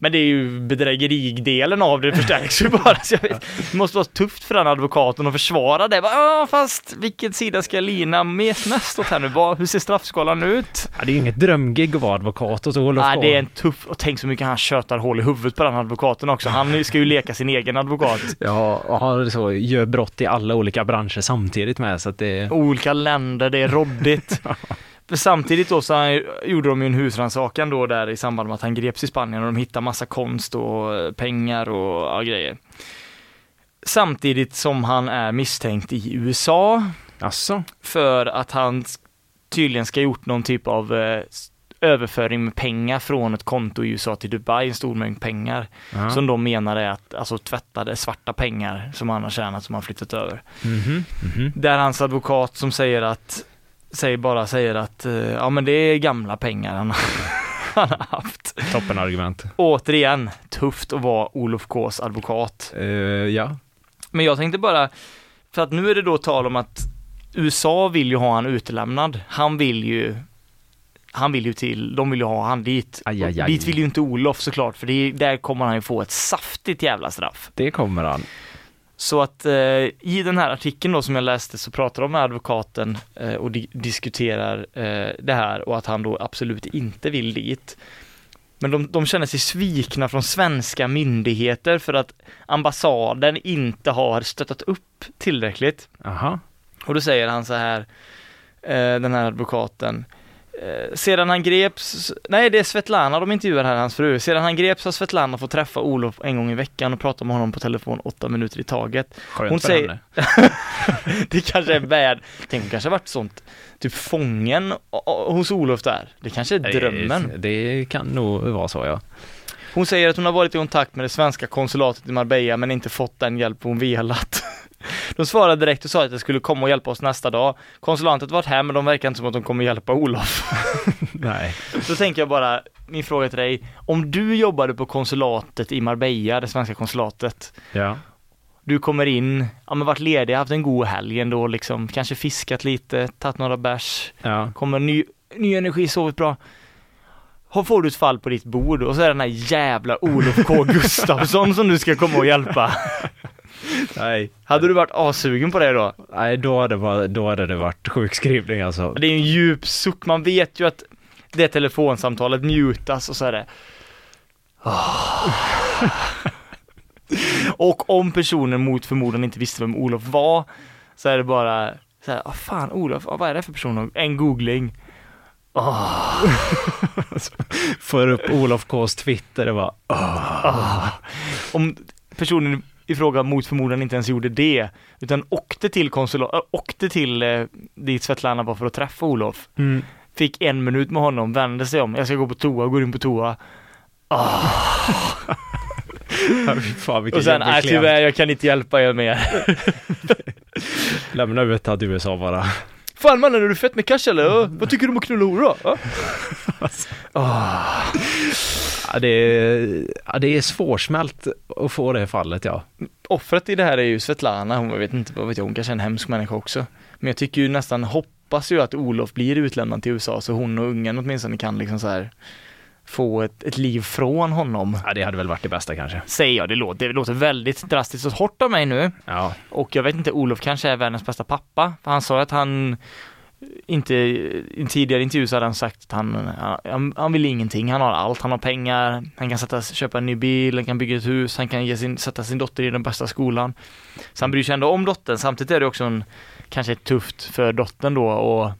Speaker 3: Men det är ju bedrägeridelen av det förstärks ju bara. Så jag vet, det måste vara tufft för den advokaten att försvara det. Bara, "Ja, fast vilken sida ska jag lina mest, mest åt här nu? Vad- Hur ser straffskalan ut?
Speaker 2: ja, det är ju inget drömgig att vara advokat och så hålla
Speaker 3: Nej,
Speaker 2: på.
Speaker 3: det är en tuff, och tänk så mycket han tjötar hål i huvudet på den advokaten också. Han ska ju leka sin egen advokat.
Speaker 2: Ja, och har så, gör brott i alla olika branscher samtidigt med, så att det...
Speaker 3: olika länder, det är råddigt. För samtidigt då så han, gjorde de ju en husrannsakan då där i samband med att han greps i Spanien och de hittade massa konst och eh, pengar och ja, grejer. Samtidigt som han är misstänkt i USA
Speaker 2: Alltså,
Speaker 3: för att han s- tydligen ska ha gjort någon typ av eh, s- överföring med pengar från ett konto i USA till Dubai, en stor mängd pengar.
Speaker 2: Ja.
Speaker 3: Som de menar är att, alltså tvättade svarta pengar som han har tjänat som han flyttat över.
Speaker 2: Mhm, mhm.
Speaker 3: Där hans advokat som säger att, säger bara säger att, eh, ja men det är gamla pengar han, han har haft.
Speaker 2: Toppen argument.
Speaker 3: Återigen, tufft att vara Olof Ks advokat.
Speaker 2: Eh, ja.
Speaker 3: Men jag tänkte bara, för att nu är det då tal om att USA vill ju ha han utelämnad. Han vill ju, han vill ju till, de vill ju ha han dit.
Speaker 2: Aj, aj,
Speaker 3: Och
Speaker 2: aj.
Speaker 3: Dit vill ju inte Olof såklart, för det, är- där kommer han ju få ett saftigt jävla straff.
Speaker 2: Det kommer han.
Speaker 3: Så att eh, i den här artikeln då som jag läste så pratar de med advokaten eh, och di- diskuterar eh, det här och att han då absolut inte vill dit. Men de, de känner sig svikna från svenska myndigheter för att ambassaden inte har stöttat upp tillräckligt.
Speaker 2: Aha.
Speaker 3: Och då säger han så här, eh, den här advokaten. Eh, sedan han greps, nej det är Svetlana de intervjuar här, hans fru. Sedan han greps har Svetlana fått träffa Olof en gång i veckan och prata med honom på telefon åtta minuter i taget.
Speaker 2: Skönt
Speaker 3: Hon
Speaker 2: för
Speaker 3: säger-
Speaker 2: henne.
Speaker 3: Det kanske är värd, tänk hon kanske har varit sånt, typ fången o- o- hos Olof där. Det kanske är drömmen.
Speaker 2: Det, det kan nog vara så ja.
Speaker 3: Hon säger att hon har varit i kontakt med det svenska konsulatet i Marbella men inte fått den hjälp hon velat. De svarade direkt och sa att de skulle komma och hjälpa oss nästa dag. Konsulatet var här men de verkar inte som att de kommer hjälpa Olof.
Speaker 2: Nej.
Speaker 3: Då tänker jag bara, min fråga till dig. Om du jobbade på konsulatet i Marbella, det svenska konsulatet.
Speaker 2: Ja.
Speaker 3: Du kommer in, ja men varit ledig, haft en god helg ändå liksom. Kanske fiskat lite, tagit några bärs.
Speaker 2: ja.
Speaker 3: Kommer ny, ny energi, sovit bra. Har- Får du ett fall på ditt bord och så är det den här jävla Olof K Gustafsson som du ska komma och hjälpa.
Speaker 2: Nej.
Speaker 3: Hade du varit assugen på det då?
Speaker 2: Nej, då hade, det varit- då hade det varit sjukskrivning alltså.
Speaker 3: Det är ju en djup suck, man vet ju att det telefonsamtalet mutas och så är det Ah. Och om personen mot förmodan inte visste vem Olof var så är det bara så här, ah, fan Olof, ah, vad är det för person? En googling.
Speaker 2: För upp Olof Ks Twitter, det var
Speaker 3: Om personen i fråga mot förmodan inte ens gjorde det, utan åkte till konsulat, äh, åkte till eh, dit Svetlana var för att träffa Olof.
Speaker 2: mm.
Speaker 3: Fick en minut med honom, vände sig om, jag ska gå på toa, går in på toa.
Speaker 2: Fan, vilken
Speaker 3: Och sen,
Speaker 2: jobbig
Speaker 3: nej
Speaker 2: klient.
Speaker 3: tyvärr, jag kan inte hjälpa er mer.
Speaker 2: Lämna ut han till USA bara.
Speaker 3: Fan mannen, är du fett med cash eller? Ja, Vad tycker du om att knulla hora? Ja.
Speaker 2: Ja, det, är, ja, det är svårsmält att få det fallet ja.
Speaker 3: Offret i det här är ju Svetlana, hon jag vet inte, vad vet jag, hon kanske är en hemsk människa också. Men jag tycker ju nästan, hoppas ju att Olof blir utlämnad till USA så hon och ungen åtminstone kan liksom så här få ett, ett liv från honom.
Speaker 2: ja. Det hade väl varit det bästa kanske.
Speaker 3: Säger jag, det låter, det låter väldigt drastiskt och hårt av mig nu.
Speaker 2: Ja,
Speaker 3: Och jag vet inte, Olof kanske är världens bästa pappa. För han sa att han inte, i en tidigare intervju så hade han sagt att han, han, han vill ingenting, han har allt, han har pengar, han kan sätta, köpa en ny bil, han kan bygga ett hus, han kan ge sin, sätta sin dotter i den bästa skolan. Så han bryr sig ändå om dottern, samtidigt är det också en, kanske tufft för dottern då och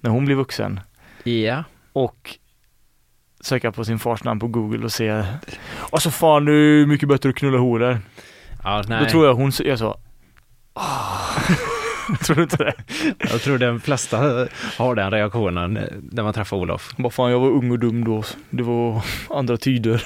Speaker 3: när hon blir vuxen
Speaker 2: ja.
Speaker 3: och söka på sin fars namn på google och se, alltså fan det är mycket bättre att knulla horor.
Speaker 2: ja nej.
Speaker 3: Då tror jag hon gör så. Ah. tror du inte det?
Speaker 2: jag... tror de flesta har den reaktionen när man träffar Olof.
Speaker 3: Bara fan, jag var ung och dum då. Det var andra tider.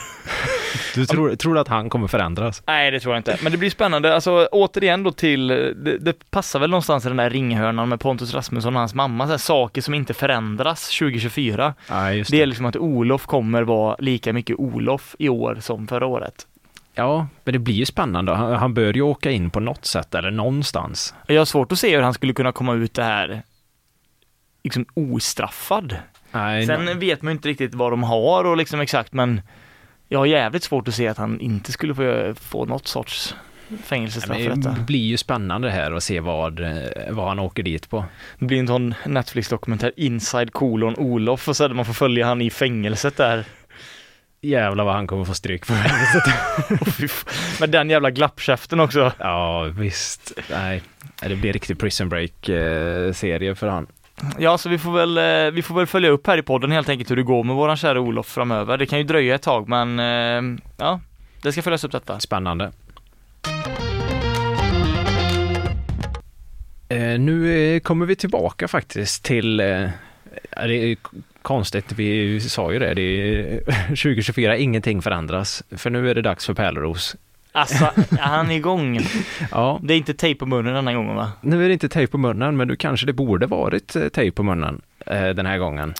Speaker 2: Du tror, tror du att han kommer förändras?
Speaker 3: Nej, det tror jag inte. Men det blir spännande. Alltså återigen då till, det, det passar väl någonstans i den där ringhörnan med Pontus Rasmusson och hans mamma. Så här, saker som inte förändras 2024.
Speaker 2: Ja, just
Speaker 3: Det är liksom att Olof kommer vara lika mycket Olof i år som förra året.
Speaker 2: Ja, men det blir ju spännande. Han, han bör ju åka in på något sätt eller någonstans.
Speaker 3: Jag har svårt att se hur han skulle kunna komma ut det här liksom ostraffad.
Speaker 2: Nej,
Speaker 3: Sen vet man ju inte riktigt vad de har och liksom exakt men jag har jävligt svårt att se att han inte skulle få, få något sorts fängelsestraff
Speaker 2: nej,
Speaker 3: för
Speaker 2: men
Speaker 3: detta.
Speaker 2: det blir ju spännande det här att se vad, eh, vad han åker dit på.
Speaker 3: Det blir en sån Netflix-dokumentär, Inside kolon Olof och så där man får följa han i fängelset där.
Speaker 2: Jävlar vad han kommer få stryk för.
Speaker 3: Och fy f- Med den jävla glappkäften också.
Speaker 2: ja, visst. Nej, det blir riktigt prison break-serie för han.
Speaker 3: Ja, så vi får, väl, eh, vi får väl följa upp här i podden helt enkelt hur det går med våran kära Olof framöver. Det kan ju dröja ett tag men eh, ja, det ska följas upp detta.
Speaker 2: Spännande. Eh, nu eh, kommer vi tillbaka faktiskt till, eh, ja, det är konstigt, vi sa ju det, det är 2024, ingenting förändras, för nu är det dags för Pärleros.
Speaker 3: Alltså, han är igång.
Speaker 2: Ja,
Speaker 3: Det är inte tejp på munnen den här gången va?
Speaker 2: nu är det inte tejp på munnen, men nu kanske det borde varit eh, tejp på munnen eh, den här gången.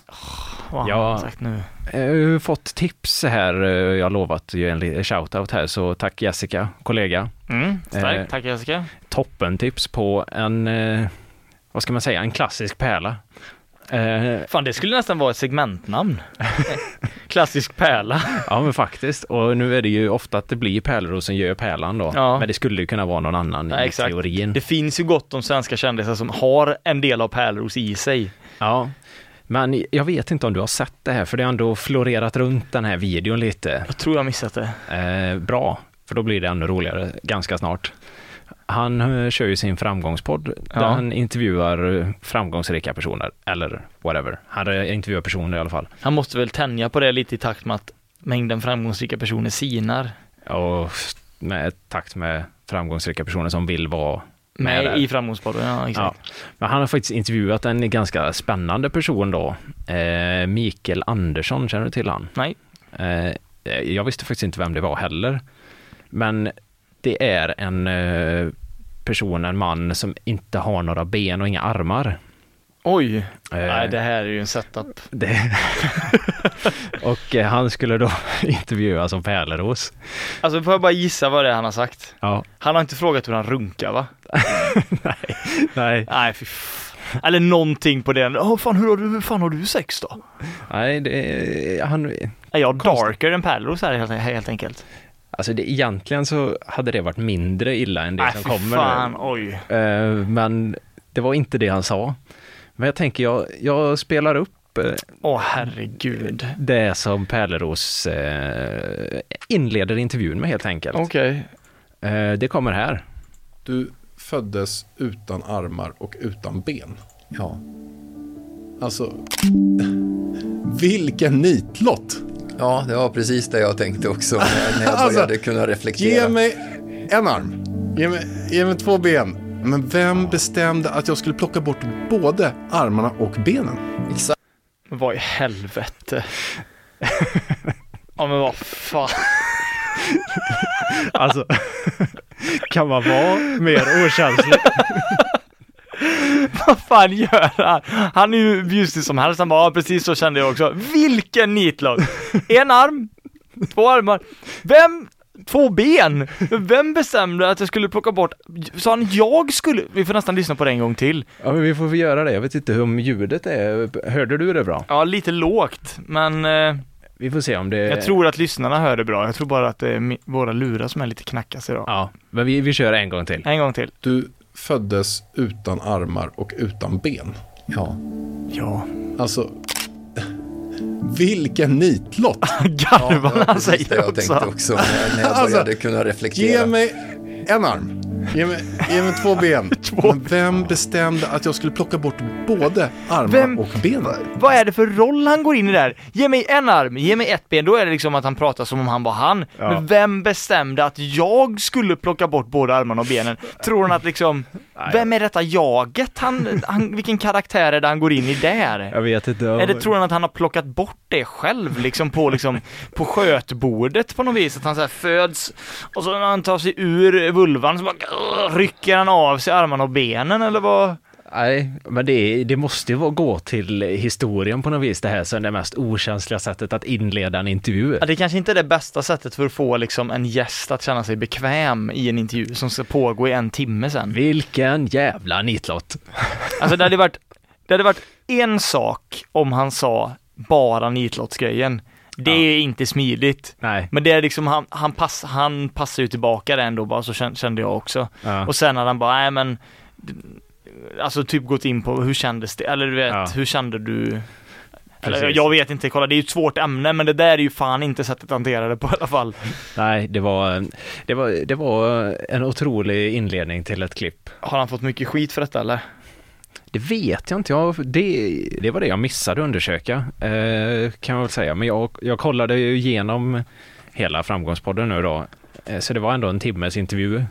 Speaker 3: Vad har
Speaker 2: Ja.
Speaker 3: han sagt nu?
Speaker 2: Jag har ju fått tips här, eh, jag har lovat ju en li- shoutout här, så tack Jessica, kollega.
Speaker 3: Mm,
Speaker 2: Eh,
Speaker 3: starkt. Tack Jessica.
Speaker 2: toppentips på en, eh, vad ska man säga, en klassisk pärla. Eh,
Speaker 3: Fan det skulle nästan vara ett segmentnamn. Klassisk pärla.
Speaker 2: ja men faktiskt. Och nu är det ju ofta att det blir pärlrosen gör pärlan då.
Speaker 3: Ja.
Speaker 2: Men det skulle ju kunna vara någon annan
Speaker 3: Ja,
Speaker 2: i
Speaker 3: exakt.
Speaker 2: teorin.
Speaker 3: Det finns ju gott om svenska kändisar som har en del av pärlros i sig.
Speaker 2: Ja. Men jag vet inte om du har sett det här, för det har ändå florerat runt den här videon lite.
Speaker 3: Jag tror jag missat det.
Speaker 2: Eh, bra, för då blir det ännu roligare ganska snart. Han eh, kör ju sin framgångspodd där
Speaker 3: Ja.
Speaker 2: han intervjuar eh, framgångsrika personer, eller whatever. Han eh, intervjuar personer i alla fall.
Speaker 3: Han måste väl tänja på det lite i takt med att mängden framgångsrika personer sinar.
Speaker 2: Och f- med takt med framgångsrika personer som vill vara med
Speaker 3: Med
Speaker 2: där.
Speaker 3: i framgångspodden, ja
Speaker 2: Ja.
Speaker 3: exakt.
Speaker 2: Men han har faktiskt intervjuat en ganska spännande person då. Eh, Mikael Andersson, känner du till han?
Speaker 3: Nej.
Speaker 2: Eh, jag visste faktiskt inte vem det var heller. Men det är en eh, person, en man som inte har några ben och inga armar.
Speaker 3: Oj!
Speaker 2: Eh,
Speaker 3: Nej det här är ju en setup.
Speaker 2: det- och eh, han skulle då intervjuas om Pärleros.
Speaker 3: Alltså får jag bara gissa vad det är han har sagt?
Speaker 2: Ja,
Speaker 3: Han har inte frågat hur han runkar va?
Speaker 2: nej.
Speaker 3: Nej fy f- Eller någonting på den. Åh fan hur har du, hur fan har du sex då?
Speaker 2: nej det, han,
Speaker 3: Är jag
Speaker 2: Konstigt.
Speaker 3: darker än pärlros här helt, helt enkelt?
Speaker 2: alltså det, egentligen så hade det varit mindre illa än det
Speaker 3: Nej
Speaker 2: som
Speaker 3: fy
Speaker 2: kommer
Speaker 3: fan,
Speaker 2: nu.
Speaker 3: oj.
Speaker 2: Eh, men det var inte det han sa. Men jag tänker, jag, jag spelar upp eh,
Speaker 3: Åh herregud.
Speaker 2: det som Pärleros eh, inleder intervjun med helt enkelt.
Speaker 3: Okej.
Speaker 2: Eh, det kommer här.
Speaker 4: Du föddes utan armar och utan ben. Ja. Alltså, vilken nitlott!
Speaker 5: Ja, det var precis det jag tänkte också när när jag
Speaker 4: Alltså,
Speaker 5: började kunna reflektera.
Speaker 4: Ge mig en arm. Ge mig, ge mig två ben. Men vem bestämde att jag skulle plocka bort både armarna och benen?
Speaker 5: Exakt.
Speaker 3: Vad i helvete. ja men vad fan.
Speaker 2: Alltså, kan man vara mer okänslig?
Speaker 3: Vad fan gör han? Han är ju bjussig som helst, han bara "Ja, precis så kände jag också. Vilken nitlott! En arm, två armar, vem, två ben! Vem bestämde att jag skulle plocka bort, sa han jag skulle, vi får nästan lyssna på det en gång till.
Speaker 2: Ja, men vi får väl göra det. Jag vet inte om ljudet är. Hörde du det bra?
Speaker 3: Ja, lite lågt, men eh,
Speaker 2: Vi får se om det...
Speaker 5: Eh.
Speaker 3: jag tror att lyssnarna hör det bra. Jag tror bara att det är mi- våra lurar som är lite knackas idag.
Speaker 2: Ja, men vi, vi kör en gång till.
Speaker 3: En gång till.
Speaker 4: Du föddes utan armar och utan ben. Ja.
Speaker 3: Ja.
Speaker 4: Alltså, vilken nitlott!
Speaker 5: Ja, det
Speaker 3: Garvar när
Speaker 5: var
Speaker 3: han
Speaker 5: precis det
Speaker 3: säger
Speaker 5: jag tänkte
Speaker 3: också.
Speaker 5: också när när jag
Speaker 4: Alltså,
Speaker 5: började kunna
Speaker 4: Ge
Speaker 5: reflektera.
Speaker 4: mig en arm. Ge mig, ge mig två ben. Men vem bestämde att jag skulle plocka bort både armarna
Speaker 3: Vem-
Speaker 4: och benen?
Speaker 3: Vad är det för roll han går in i där? Ge mig en arm, ge mig ett ben, då är det liksom att han pratar som om han var han. Men vem bestämde att jag skulle plocka bort båda armarna och benen? Tror han att liksom, vem är detta jaget? Han, han, vilken karaktär är det han går in i där?
Speaker 2: Jag vet inte.
Speaker 3: Eller tror han att han har plockat bort det själv liksom på, liksom, på skötbordet på något vis? Att han så här föds och så när han tar sig ur vulvan så bara grr, rycker han av sig armarna och benen eller vad?
Speaker 2: Nej, men det, det måste ju vara- gå till historien på något vis det här som det mest okänsliga sättet att inleda en intervju.
Speaker 3: Ja, det kanske inte är det bästa sättet för att få liksom en gäst att känna sig bekväm i en intervju som ska pågå i en timme sen.
Speaker 2: Vilken jävla nitlott!
Speaker 3: Alltså det hade varit, det hade varit en sak om han sa bara nitlottsgrejen. Det är inte smidigt.
Speaker 2: Nej.
Speaker 3: Men det är liksom, han, han, pass, han passar ju tillbaka det ändå bara, så kän- kände jag också.
Speaker 2: Ja.
Speaker 3: Och sen hade han bara, nej men, alltså typ gått in på hur kändes det, eller du vet,
Speaker 2: Ja.
Speaker 3: hur kände du? Eller,
Speaker 2: Precis.
Speaker 3: jag vet inte, kolla det är ju ett svårt ämne men det där är ju fan inte sättet att hantera det på i alla fall.
Speaker 2: Nej, det var, det, var, det var en otrolig inledning till ett klipp.
Speaker 3: Har han fått mycket skit för detta eller?
Speaker 2: Det vet jag inte, jag, det, det var det jag missade att undersöka, eh, kan jag väl säga. Men jag, jag kollade ju igenom hela Framgångspodden nu då, eh, så det var ändå en timmes intervju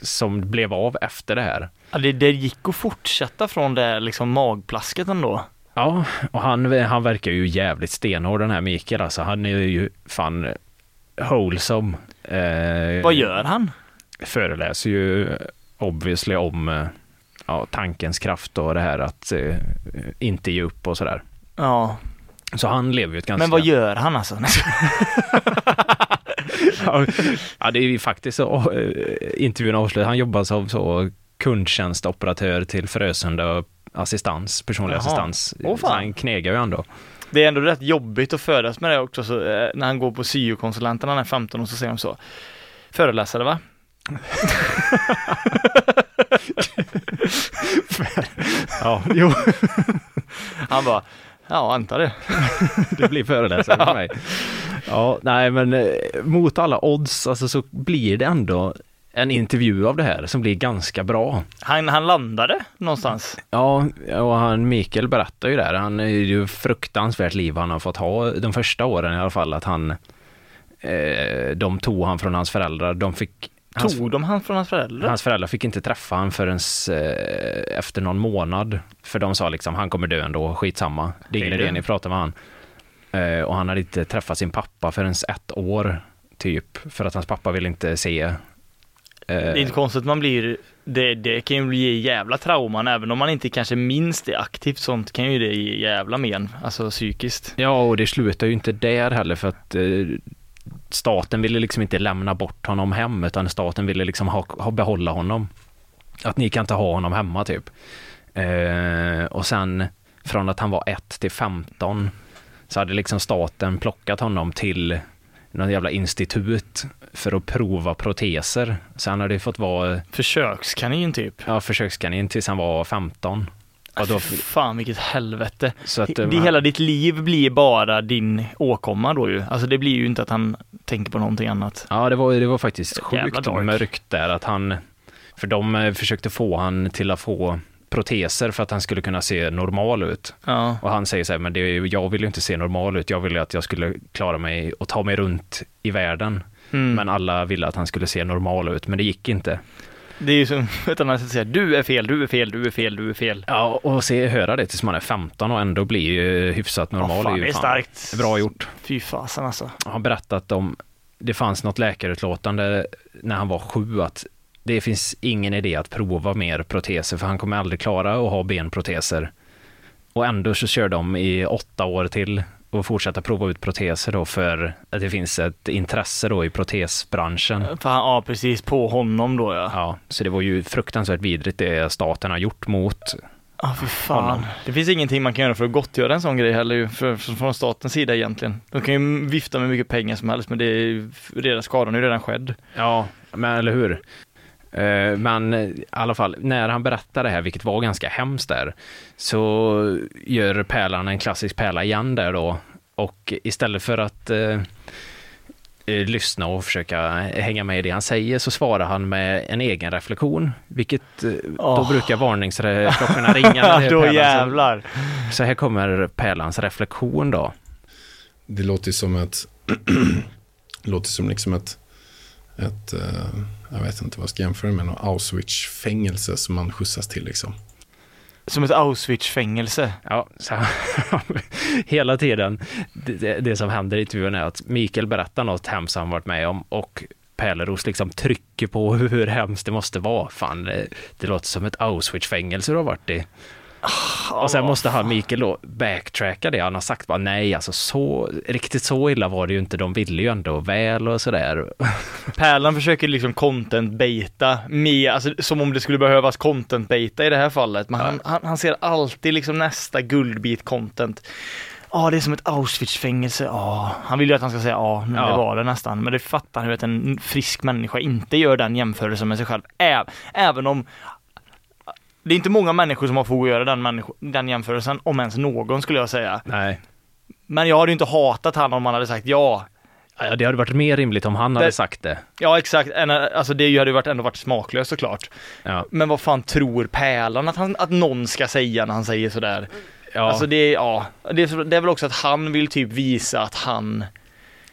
Speaker 2: som blev av efter det här.
Speaker 3: Ja, det, det gick att fortsätta från det liksom magplasket ändå.
Speaker 2: Ja, och han, han verkar ju jävligt stenhård den här Mikael alltså. Han är ju fan wholesome. Eh,
Speaker 3: Vad gör han?
Speaker 2: Föreläser ju obviously om eh, ja, tankens kraft och det här att eh, inte ge upp och sådär.
Speaker 3: Ja,
Speaker 2: Så han lever ju ett ganska...
Speaker 3: men vad gör han alltså? Nej,
Speaker 2: Ja, det är ju faktiskt så eh, intervjun avslöjar. Han jobbar som så kundtjänstoperatör till Frösunda assistans, personlig
Speaker 3: Jaha.
Speaker 2: assistans.
Speaker 3: Åh,
Speaker 2: så
Speaker 3: fan.
Speaker 2: han knegar ju ändå.
Speaker 3: Det är ändå rätt jobbigt att födas med det också, så, eh, när han går på syokonsulenten när han är 15 och så säger de så. Föreläsare va?
Speaker 2: Ja, jo,
Speaker 3: Han bara, ja antar det.
Speaker 2: det blir föreläsare för mig. Ja, nej men eh, mot alla odds alltså, så blir det ändå en intervju av det här som blir ganska bra.
Speaker 3: Han, han landade någonstans.
Speaker 2: Ja, och han Mikael berättar ju där, han är ju fruktansvärt liv han har fått ha de första åren i alla fall, att han, eh, de tog han från hans föräldrar, de fick, hans,
Speaker 3: Tog de han från hans föräldrar?
Speaker 2: hans föräldrar fick inte träffa han förrän eh, efter någon månad, för de sa liksom, han kommer dö ändå, skitsamma, det är ingen
Speaker 3: Hej då.
Speaker 2: idé ni pratar med han. Eh, och han hade inte träffat sin pappa förrän ett år, typ, för att hans pappa ville inte se. eh,
Speaker 3: Det är inte konstigt att man blir, det, det kan ju ge jävla trauman även om man inte kanske minns det aktivt sånt kan ju det ge jävla men, alltså psykiskt.
Speaker 2: Ja, och det slutar ju inte där heller för att eh, staten ville liksom inte lämna bort honom hem utan staten ville liksom ha, ha behålla honom. Att ni kan inte ha honom hemma typ. Eh, och sen från att han var 1 till 15 så hade liksom staten plockat honom till någon jävla institut för att prova proteser. Så han hade ju fått vara
Speaker 3: Försökskanin typ.
Speaker 2: ja, försökskanin tills han var 15. Och då,
Speaker 3: Fy Alltså, fan vilket helvete.
Speaker 2: så att,
Speaker 3: Det,
Speaker 2: eh,
Speaker 3: hela ditt liv blir bara din åkomma då ju. Alltså det blir ju inte att han tänker på någonting annat.
Speaker 2: Ja, det var, det var faktiskt
Speaker 3: Jävla
Speaker 2: sjukt
Speaker 3: dark.
Speaker 2: mörkt där att han, för de eh, försökte få han till att få proteser för att han skulle kunna se normal ut.
Speaker 3: Ja.
Speaker 2: Och han säger så här, men det, är ju- jag vill ju inte se normal ut, jag ville att jag skulle klara mig och ta mig runt i världen.
Speaker 3: Mm.
Speaker 2: Men alla ville att han skulle se normal ut, men det gick inte.
Speaker 3: Det är ju som ett annat sätt att säga du är fel, du är fel, du är fel, du är fel.
Speaker 2: Ja, och se, höra det tills man är 15 och ändå blir ju hyfsat normal.
Speaker 3: Ja, fan,
Speaker 2: ju
Speaker 3: det är starkt.
Speaker 2: Bra gjort.
Speaker 3: Fy fasen alltså.
Speaker 2: har berättat om, det fanns något läkarutlåtande när han var sju att det finns ingen idé att prova mer proteser för han kommer aldrig klara att ha benproteser. Och ändå så kör de i åtta år till och fortsätter prova ut proteser då för att det finns ett intresse då i protesbranschen.
Speaker 3: För han, ja precis, på honom då ja. Ja,
Speaker 2: Ja, så det var ju fruktansvärt vidrigt det staten har gjort mot.
Speaker 3: fy fan.
Speaker 2: Honom.
Speaker 3: Det finns ingenting man kan göra för att gottgöra en sån grej heller ju, för, för, från statens sida egentligen. De kan ju vifta med mycket pengar som helst men det är ju redan, skadan är ju redan skedd.
Speaker 2: Ja, men eller hur? Eh, Men eh, i alla fall, när han berättar det här, vilket var ganska hemskt där, så gör pärlan en klassisk pärla igen där då. Och istället för att eh, eh, lyssna och försöka hänga med i det han säger så svarar han med en egen reflektion, vilket eh, då
Speaker 3: Åh.
Speaker 2: brukar varningsklockorna ringa. när det är
Speaker 3: då
Speaker 2: pärlan som-
Speaker 3: jävlar.
Speaker 2: Så här kommer pärlans reflektion då.
Speaker 4: Det låter ju som ett... det låter som liksom ett... ett eh, jag vet inte vad jag ska jämföra med. Någon Auschwitz-fängelse som man skjutsas till liksom.
Speaker 3: Som ett Auschwitz-fängelse.
Speaker 2: Ja, så hela tiden. Det- Det, det som händer i intervjun är att Mikael berättar något hemskt han varit med om och Pärleros liksom trycker på hur hemskt det måste vara. Fan, det, det låter som ett Auschwitz-fängelse du har varit i. Och
Speaker 3: Alltså,
Speaker 2: sen måste han, Mikael då, backtracka det han har sagt. Bara, nej, alltså så, riktigt så illa var det ju inte. De ville ju ändå väl och sådär.
Speaker 3: Pärlan försöker liksom content-baita med, alltså som om det skulle behövas content-baita i det här fallet. Men han, han, han ser alltid liksom nästa guldbit-content. Ja, det är som ett Auschwitz-fängelse. Ja, han vill ju att han ska säga ja, men
Speaker 2: Ja.
Speaker 3: det var det nästan. Men det fattar han ju att en frisk människa inte gör den jämförelsen med sig själv. Ä- även om det är inte många människor som har fog att göra den, människo- den jämförelsen, om ens någon skulle jag säga.
Speaker 2: Nej.
Speaker 3: Men jag hade ju inte hatat han om han hade sagt ja,
Speaker 2: Ja, det hade varit mer rimligt om han hade
Speaker 3: Det-
Speaker 2: sagt det.
Speaker 3: Ja exakt, En- alltså det hade ju varit, ändå varit smaklöst såklart.
Speaker 2: Ja.
Speaker 3: Men vad fan tror Pärlan att, han, att någon ska säga när han säger sådär?
Speaker 2: Ja.
Speaker 3: Alltså det, är- ja, det, är- det är väl också att han vill typ visa att han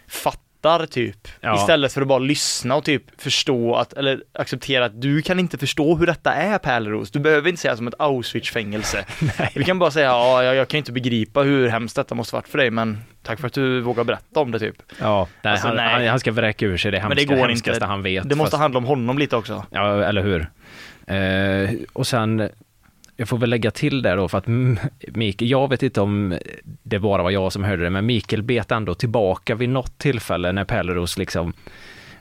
Speaker 3: fattar typ.
Speaker 2: Ja.
Speaker 3: Istället för att bara lyssna och typ förstå att, eller acceptera att du kan inte förstå hur detta är Pärleros. Du behöver inte säga som ett Auschwitz-fängelse. Du kan bara säga ja, jag, jag kan inte begripa hur hemskt detta måste varit för dig men tack för att du vågar berätta om det typ.
Speaker 2: ja, nej,
Speaker 3: Alltså,
Speaker 2: han,
Speaker 3: nej.
Speaker 2: Han, han ska vräka ur sig det, hemska,
Speaker 3: Men det går
Speaker 2: hemskaste
Speaker 3: inte.
Speaker 2: han vet.
Speaker 3: Det måste
Speaker 2: fast-
Speaker 3: handla om honom lite också.
Speaker 2: Ja, eller hur. Eh, och sen, jag får väl lägga till där då för att mm, Mikael, jag vet inte om det bara var jag som hörde det, men Mikael bet ändå tillbaka vid något tillfälle när Pärleros liksom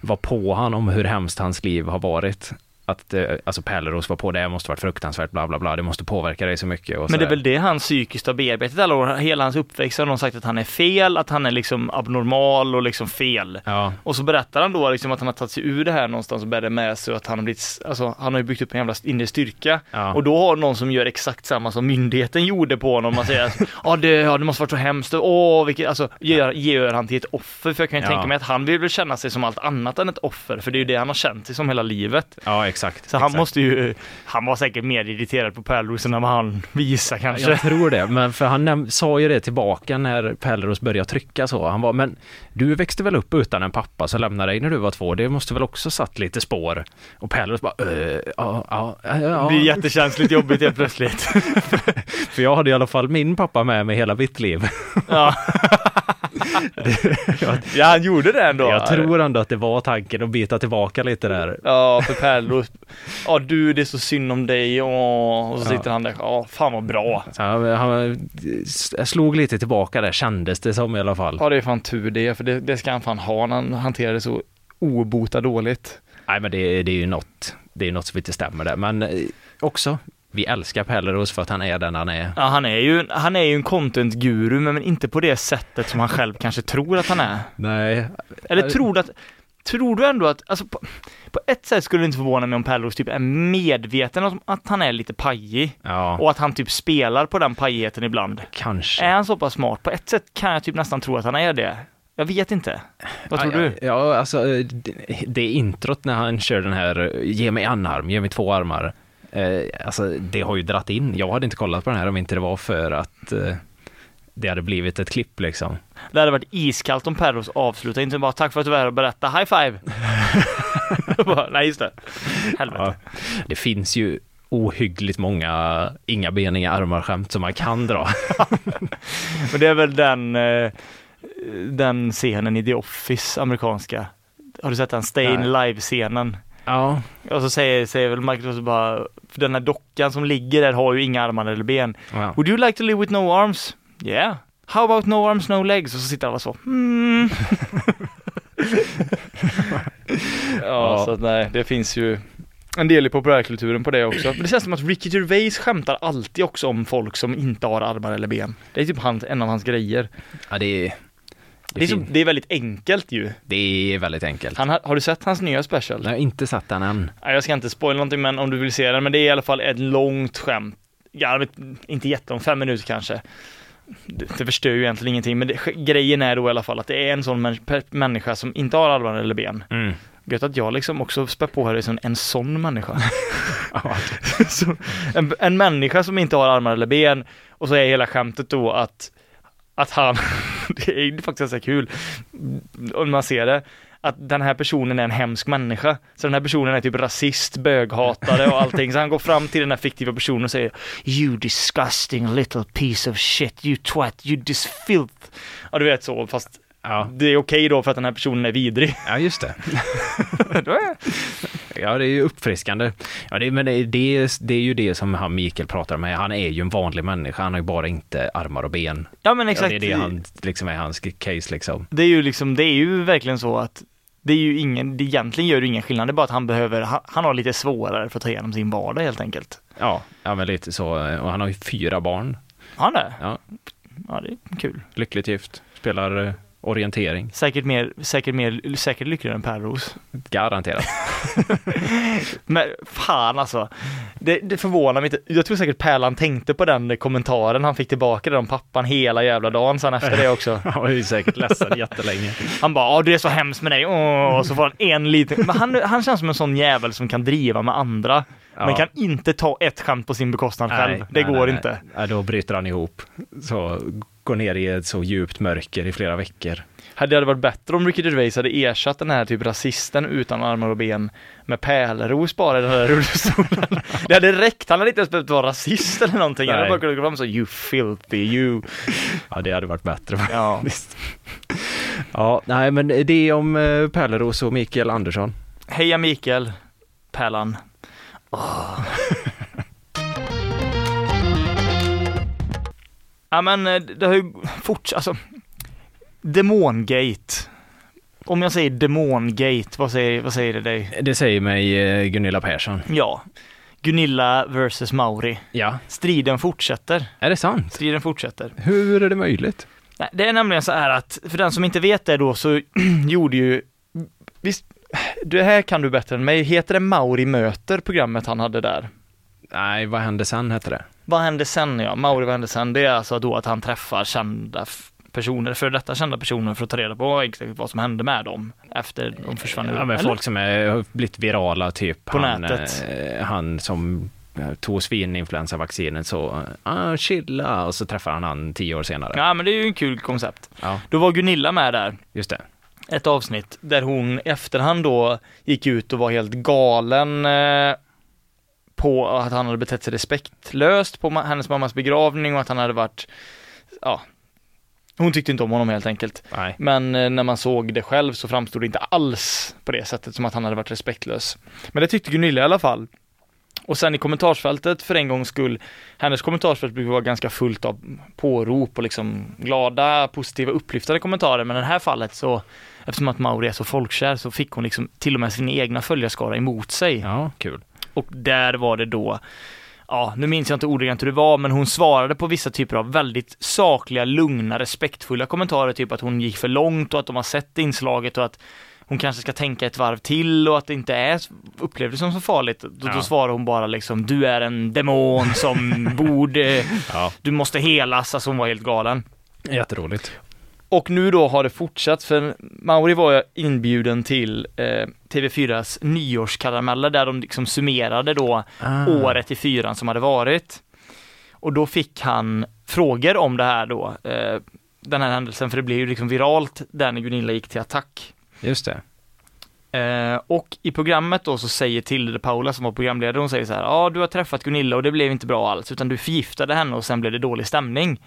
Speaker 2: var på han om hur hemskt hans liv har varit. att eh, alltså Pärleros var på det, här måste varit fruktansvärt, bla bla bla, det måste påverka dig så mycket. Och
Speaker 3: Men det är
Speaker 2: sådär.
Speaker 3: väl det han psykiskt har bearbetat alla år. Hela hans uppväxt har någon sagt att han är fel, att han är liksom abnormal och liksom fel.
Speaker 2: Ja,
Speaker 3: Och så berättar han då liksom att han har tagit sig ur det här någonstans och bär det med sig och att han har blivit, alltså han har ju byggt upp en jävla inre styrka.
Speaker 2: Ja.
Speaker 3: Och då har någon som gör exakt samma som myndigheten gjorde på honom. Man säger att ja det, ja, det måste varit så hemskt, åh vilket, alltså gör, gör han till ett offer. För jag kan ju
Speaker 2: Ja.
Speaker 3: tänka mig att han vill väl känna sig som allt annat än ett offer, för det är ju det han har känt sig som hela livet.
Speaker 2: ja exakt.
Speaker 3: Så han
Speaker 2: exakt.
Speaker 3: måste ju, han var säkert mer irriterad på pärlrosen än vad han visar kanske.
Speaker 2: Jag tror det, men för han näm- sa ju det tillbaka när Pärleros började trycka så. Han var, men du växte väl upp utan en pappa som lämnade dig när du var två? Det måste väl också satt lite spår? Och Pärleros bara, "Eh, ja, ja, ja,
Speaker 3: Det blir
Speaker 2: ja.
Speaker 3: jättekänsligt jobbigt helt plötsligt.
Speaker 2: För jag hade i alla fall min pappa med mig hela mitt liv.
Speaker 3: Ja. ja, han gjorde det ändå.
Speaker 2: Jag tror ändå att det var tanken att bita tillbaka lite där.
Speaker 3: Ja, för pärlor. Ja, du, det är så synd om dig. Åh. Och så
Speaker 2: Ja.
Speaker 3: sitter han där. Ja, fan vad bra.
Speaker 2: Så han, han s- slog lite tillbaka där, kändes det som i alla fall.
Speaker 3: Ja, det är fan tur det, för det, det ska han fan ha när han hanterar det så obota dåligt.
Speaker 2: Nej, men det, det är ju något, det är något som inte stämmer där. Men eh, också, vi älskar Pärleros för att han är den han är.
Speaker 3: Ja, han är ju, han är ju en content-guru, men men inte på det sättet som han själv kanske tror att han är.
Speaker 2: Nej,
Speaker 3: Eller tror du att, tror du ändå att, alltså på, på ett sätt skulle det inte förvåna mig om Pärlros typ är medveten om att han är lite pajig.
Speaker 2: Ja,
Speaker 3: Och att han typ spelar på den pajigheten ibland.
Speaker 2: kanske.
Speaker 3: Är han så pass smart? På ett sätt kan jag typ nästan tro att han är det. Jag vet inte. Vad tror
Speaker 2: Ja,
Speaker 3: du?
Speaker 2: Ja, ja, alltså eh, det- det introt när han kör den här eh, ge mig en arm, ge mig två armar. Eh, Alltså det har ju dratt in. Jag hade inte kollat på den här om inte det var för att eh, det hade blivit ett klipp liksom.
Speaker 3: Det hade varit iskallt om Perros avslutar, inte bara tack för att du var här och berättade, high five! Bara, Nej just det. Helvete.
Speaker 2: Ja. Det finns ju ohyggligt många inga ben, inga armar skämt som man kan dra.
Speaker 3: Men det är väl den, eh, den scenen i The Office, amerikanska. Har du sett den? Stay in live-scenen.
Speaker 2: Ja,
Speaker 3: Och så säger, säger väl Microsoft bara, för den här dockan som ligger där har ju inga armar eller ben.
Speaker 2: ja.
Speaker 3: Would you like to live with no arms? Yeah. How about no arms, no legs? Och så sitter alla så. Mm. ja, så att nej, det finns ju en del i populärkulturen på det också. Men det känns som att Ricky Gervais skämtar alltid också om folk som inte har armar eller ben. Det är typ han, en av hans grejer.
Speaker 2: ja det, är-
Speaker 3: Det är,
Speaker 2: det, är
Speaker 3: så,
Speaker 2: fint.
Speaker 3: det är väldigt enkelt ju.
Speaker 2: det är väldigt enkelt.
Speaker 3: Han, har har du sett hans nya special?
Speaker 2: Jag har inte satt den än.
Speaker 3: Nej, jag ska inte spoila någonting men om du vill se den, men det är i alla fall ett långt skämt. Ja, jag vet, inte jättelångt, fem minuter kanske. Det, det förstör ju egentligen ingenting, men det, grejen är då i alla fall att det är en sån män, per, människa som inte har armar eller ben.
Speaker 2: Mm.
Speaker 3: Gött att jag liksom också spär på här som en sån människa. så, en, en människa som inte har armar eller ben och så är hela skämtet då att, att han, det är ju faktiskt ganska kul om man ser det, att den här personen är en hemsk människa. Så den här personen är typ rasist, böghatare och allting. Så han går fram till den här fiktiva personen och säger You disgusting little piece of shit, you twat, you dis filth. Ja du vet så, fast
Speaker 2: Ja,
Speaker 3: det är okej då för att den här personen är vidrig.
Speaker 2: ja just det. Ja, det är ju uppfriskande. Ja, det, men det, det, det är ju det som han Mikael pratar med. Han är ju en vanlig människa. Han har ju bara inte armar och ben.
Speaker 3: Ja men
Speaker 2: Ja,
Speaker 3: exakt.
Speaker 2: det är det han, liksom är hans case liksom.
Speaker 3: det är ju liksom, det är ju verkligen så att det är ju ingen, det egentligen gör det ingen skillnad, det är bara att han behöver, han, han har lite svårare för att ta igenom sin vardag helt enkelt.
Speaker 2: Ja, ja men lite så. Och han har ju fyra barn.
Speaker 3: Har han det?
Speaker 2: Ja.
Speaker 3: Ja, det är kul.
Speaker 2: Lyckligt gift. Spelar eh, orientering.
Speaker 3: Säkert mer, säkert mer, säkert lyckligare än Pärros.
Speaker 2: Garanterat.
Speaker 3: Men fan alltså, det, det förvånar mig inte. Jag tror säkert Pärlan tänkte på den kommentaren han fick tillbaka där om pappan hela jävla dagen sen efter det också.
Speaker 2: Han var ju säkert ledsen jättelänge.
Speaker 3: Han bara, ja du är så hemskt med dig, åh, och så får han en liten, men han, han känns som en sån jävel som kan driva med andra, men
Speaker 2: Ja.
Speaker 3: kan inte ta ett skämt på sin bekostnad själv.
Speaker 2: Nej,
Speaker 3: det
Speaker 2: nej,
Speaker 3: går
Speaker 2: nej,
Speaker 3: inte.
Speaker 2: Nej. Ja, då bryter han ihop. Så går ner i ett så djupt mörker i flera veckor.
Speaker 3: Hade det varit bättre om Ricky Gervais hade ersatt den här typ rasisten utan armar och ben med pärleros bara i den här rullstolen? Det hade räckt, han hade inte ens behövt vara rasist eller någonting. Han hade
Speaker 2: Nej.
Speaker 3: bara kunnat gå fram och säga you filthy, you.
Speaker 2: Ja, det hade varit bättre.
Speaker 3: Ja.
Speaker 2: Visst. Ja, nej men det är om eh, Pärleros och Mikael Andersson.
Speaker 3: Heja Mikael, Pärlan. Ja men eh, det har ju fortsatt, alltså Demongate Om jag säger demongate, vad säger, vad säger det dig?
Speaker 2: Det säger mig eh, Gunilla Persson.
Speaker 3: Ja. Gunilla versus Mauri.
Speaker 2: Ja,
Speaker 3: Striden fortsätter.
Speaker 2: är det sant?
Speaker 3: Striden fortsätter.
Speaker 2: Hur är det möjligt?
Speaker 3: Nej, det är nämligen så här att, för den som inte vet det då så gjorde ju, visst, det här kan du bättre än mig, heter det Mauri möter programmet han hade där?
Speaker 2: Nej, vad hände sen hette det?
Speaker 3: Vad hände sen ja, Mauri vad hände sen? Det är alltså då att han träffar kända f- personer, för detta kända personer för att ta reda på exakt vad som hände med dem efter de försvann ur-
Speaker 2: Ja, men
Speaker 3: eller?
Speaker 2: folk som är, har blivit virala, typ
Speaker 3: På
Speaker 2: han,
Speaker 3: nätet.
Speaker 2: eh, han som eh, tog svininfluensavaccinet så, eh, ah, chilla, och så träffar han han tio år senare. Ja,
Speaker 3: Ja men det är ju en kul koncept. Då var Gunilla med där,
Speaker 2: just det.
Speaker 3: ett avsnitt, där hon i efterhand då gick ut och var helt galen eh, på att han hade betett sig respektlöst på ma- hennes mammas begravning och att han hade varit, ja, hon tyckte inte om honom helt enkelt.
Speaker 2: Nej.
Speaker 3: Men eh, när man såg det själv så framstod det inte alls på det sättet som att han hade varit respektlös. Men det tyckte Gunilla i alla fall. Och sen i kommentarsfältet för en gångs skull, hennes kommentarsfält brukar vara ganska fullt av pårop och liksom glada, positiva, upplyftande kommentarer. Men i det här fallet så, eftersom att Mauri är så folkkär så fick hon liksom till och med sin egna följarskara emot sig.
Speaker 2: Ja, kul.
Speaker 3: Och där var det då, ja nu minns jag inte ordagrant hur det var, men hon svarade på vissa typer av väldigt sakliga, lugna, respektfulla kommentarer, typ att hon gick för långt och att de har sett inslaget och att hon kanske ska tänka ett varv till och att det inte är upplevdes som så farligt. Då,
Speaker 2: Ja.
Speaker 3: då svarar hon bara liksom, du är en demon som borde,
Speaker 2: Ja.
Speaker 3: du måste helas, alltså hon var helt galen.
Speaker 2: Jätteroligt.
Speaker 3: Och nu då har det fortsatt, för Mauri var ju inbjuden till eh, TV4s nyårskarameller där de liksom summerade då
Speaker 2: Ah.
Speaker 3: året i fyran som hade varit. Och då fick han frågor om det här då, eh, den här händelsen, för det blev ju liksom viralt där när Gunilla gick till attack.
Speaker 2: Ah, Just det.
Speaker 3: Eh, och i programmet då så säger Tilde Paula som var programledare, hon säger så här, ja du har träffat Gunilla och det blev inte bra alls, utan du förgiftade henne och sen blev det dålig stämning.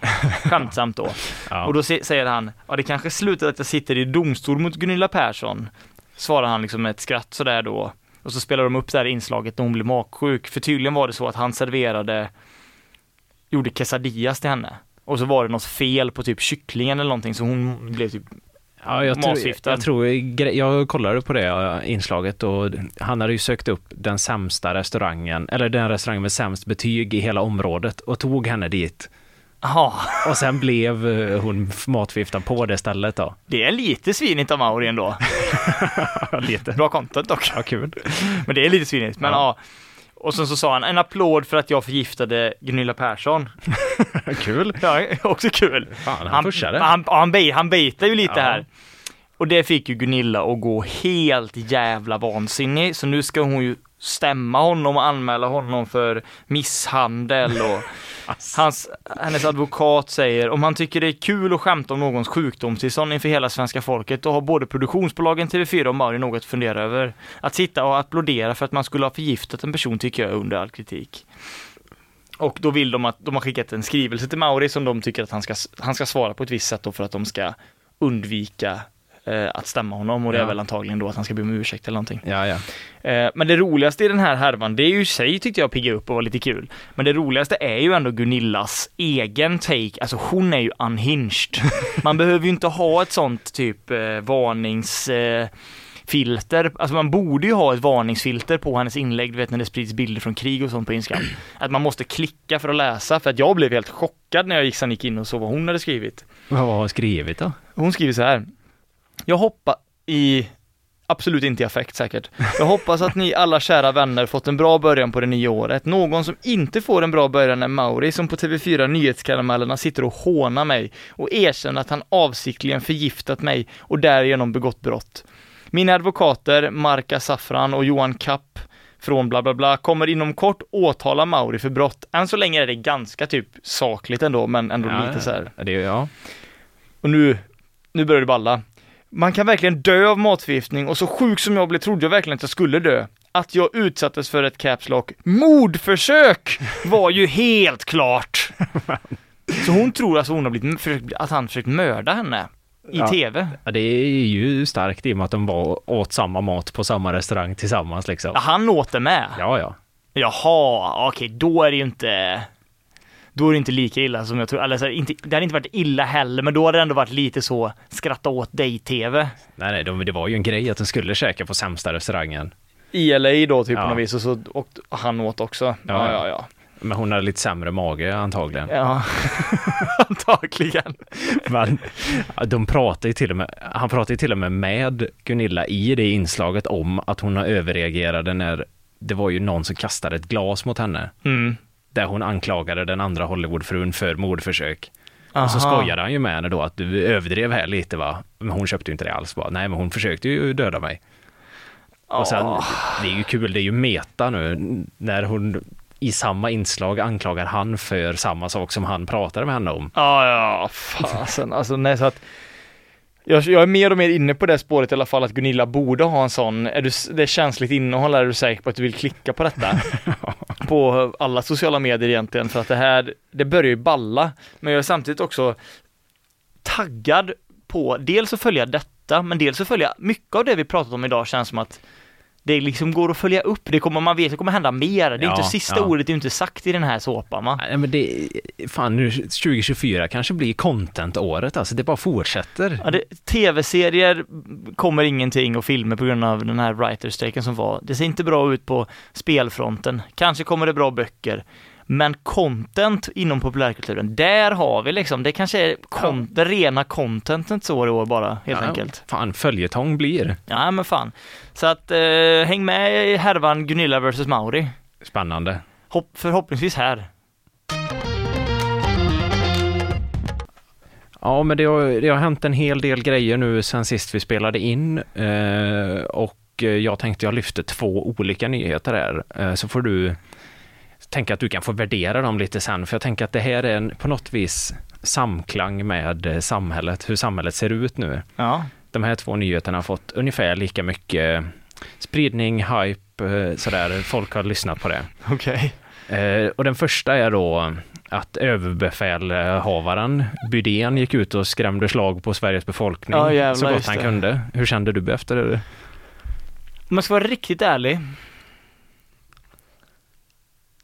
Speaker 3: Skämtsamt då.
Speaker 2: Ja.
Speaker 3: Och då se- säger han, ja det kanske slutade att jag sitter i domstol mot Gunilla Persson. Svarar han liksom med ett skratt sådär då. Och så spelar de upp det här inslaget när hon blev magsjuk. För tydligen var det så att han serverade, gjorde quesadillas till henne. Och så var det något fel på typ kycklingen eller någonting så hon blev typ,
Speaker 2: Ja, jag, tror,
Speaker 3: Matfiften.
Speaker 2: jag, tror, gre- jag kollade på det ja, inslaget och han hade ju sökt upp den sämsta restaurangen, eller den restaurangen med sämst betyg i hela området och tog henne dit.
Speaker 3: jaha,
Speaker 2: Och sen blev eh, hon matförgiftad på det stället då.
Speaker 3: det är lite svinigt av Mauri ändå.
Speaker 2: lite.
Speaker 3: Bra content dock.
Speaker 2: Ja, kul.
Speaker 3: Men det är lite svinigt, men ja. Och sen så sa han, en applåd för att jag förgiftade Gunilla Persson.
Speaker 2: kul.
Speaker 3: Ja, också kul.
Speaker 2: Fan, han,
Speaker 3: han,
Speaker 2: pushade.
Speaker 3: Han, ja, han, bait, han baitar ju lite
Speaker 2: Ja.
Speaker 3: här. Och det fick ju Gunilla att gå helt jävla vansinnig, så nu ska hon ju stämma honom och anmäla honom för misshandel och hans, hennes advokat säger om han tycker det är kul att skämta om någons sjukdomstillstånd inför hela svenska folket då har både produktionsbolagen TV4 och Mauri något att fundera över. Att sitta och applådera för att man skulle ha förgiftat en person tycker jag är under all kritik. Och då vill de att de har skickat en skrivelse till Mauri som de tycker att han ska, han ska svara på ett visst sätt då för att de ska undvika eh, att stämma honom och det är
Speaker 2: Ja.
Speaker 3: väl antagligen då att han ska be om ursäkt eller någonting.
Speaker 2: Ja, ja.
Speaker 3: Eh, Men det roligaste i den här härvan, det är ju i sig tyckte jag pigga upp och var lite kul. Men det roligaste är ju ändå Gunillas egen take, alltså hon är ju unhinged. Man behöver ju inte ha ett sånt typ eh, varnings... Eh, filter, alltså man borde ju ha ett varningsfilter på hennes inlägg, du vet när det sprids bilder från krig och sånt på Instagram. Att man måste klicka för att läsa, för att jag blev helt chockad när jag gick, sen gick in och såg vad hon hade skrivit.
Speaker 2: Vad har hon skrivit då?
Speaker 3: Hon skriver så här. Jag hoppas i Absolut inte i affekt säkert. Jag hoppas att ni alla kära vänner fått en bra början på det nya året. Någon som inte får en bra början är Mauri som på TV4 Nyhetskaramellerna sitter och hånar mig och erkänner att han avsiktligen förgiftat mig och därigenom begått brott. Mina advokater Marka Safran och Johan Kapp från bla bla bla kommer inom kort åtala Mauri för brott. Än så länge är det ganska typ sakligt ändå, men ändå
Speaker 2: Ja,
Speaker 3: lite så här.
Speaker 2: Det är, ja.
Speaker 3: Och nu, nu börjar det balla. Man kan verkligen dö av matförgiftning och så sjuk som jag blev trodde jag verkligen att jag skulle dö. Att jag utsattes för ett caps lock mordförsök var ju helt klart. Så hon tror alltså hon har blivit, försökt- att han försökt mörda henne i
Speaker 2: Ja.
Speaker 3: tv.
Speaker 2: ja, det är ju starkt i och med att de var åt samma mat på samma restaurang tillsammans
Speaker 3: Ah.
Speaker 2: liksom.
Speaker 3: Ja, han åt det med.
Speaker 2: Ja, ja.
Speaker 3: Jaha, okej, då är det ju inte... Då är det inte lika illa som jag tror, eller så här, inte, det hade inte varit illa heller, men då hade det ändå varit lite så skratta åt dig-tv.
Speaker 2: Nej, nej, de, det var ju en grej att de skulle käka på sämsta restaurangen.
Speaker 3: I LA då typ
Speaker 2: Ja.
Speaker 3: på något vis och så och han åt också. Ja,
Speaker 2: Ja,
Speaker 3: ja, ja.
Speaker 2: Men hon hade lite sämre mage antagligen.
Speaker 3: Ja, antagligen.
Speaker 2: Men, de pratar ju till och med, han pratar ju till och med med Gunilla i det inslaget om att hon har överreagerade när det var ju någon som kastade ett glas mot henne.
Speaker 3: Mm.
Speaker 2: Där hon anklagade den andra Hollywoodfrun för mordförsök. Och så
Speaker 3: Aha.
Speaker 2: skojade han ju med henne då att du överdrev här lite va. Men hon köpte ju inte det alls bara. Nej men hon försökte ju döda mig. Och sen,
Speaker 3: Ja.
Speaker 2: det är ju kul, det är ju meta nu. När hon i samma inslag anklagar han för samma sak som han pratade med henne om.
Speaker 3: Ja, ja, fasen. Alltså nej, så att jag, jag är mer och mer inne på det spåret i alla fall att Gunilla borde ha en sån, är du, s- det är känsligt innehåll, är du säker på att du vill klicka på detta? på alla sociala medier egentligen, för att det här, det börjar ju balla. Men jag är samtidigt också taggad på, dels att följa detta, men dels att följa, mycket av det vi pratat om idag känns som att det liksom går att följa upp, det kommer, man vet, det kommer hända mer. Det är
Speaker 2: Ja,
Speaker 3: inte sista
Speaker 2: ja.
Speaker 3: ordet, det är inte sagt i den här såpan va?
Speaker 2: Nej men det, fan nu 2024 kanske blir content-året alltså, det bara fortsätter.
Speaker 3: Ja, det, Tv-serier kommer ingenting och filmer på grund av den här writerstrejken som var. Det ser inte bra ut på spelfronten. Kanske kommer det bra böcker. Men content inom populärkulturen, där har vi liksom, det kanske är kon- det rena contentet så i år bara, helt
Speaker 2: Ja,
Speaker 3: enkelt.
Speaker 2: Fan, följetong blir.
Speaker 3: Ja, men fan. Så att eh, häng med i härvan Gunilla vs Mauri.
Speaker 2: Spännande.
Speaker 3: Hopp, förhoppningsvis här.
Speaker 2: Ja, men det har, det har hänt en hel del grejer nu sen sist vi spelade in eh, och eh, jag tänkte jag lyfter två olika nyheter här eh, så får du tänka att du kan få värdera dem lite sen för jag tänker att det här är en, på något vis samklang med eh, samhället, hur samhället ser ut nu.
Speaker 3: Ja.
Speaker 2: De här två nyheterna har fått ungefär lika mycket spridning, hype, eh, sådär, folk har lyssnat på det.
Speaker 3: Okej.
Speaker 2: Eh, och den första är då att överbefälhavaren Bydén gick ut och skrämde slag på Sveriges befolkning
Speaker 3: Ja, jävlar,
Speaker 2: så gott
Speaker 3: just
Speaker 2: han
Speaker 3: det.
Speaker 2: kunde. Hur kände du efter det?
Speaker 3: Om jag ska vara riktigt ärlig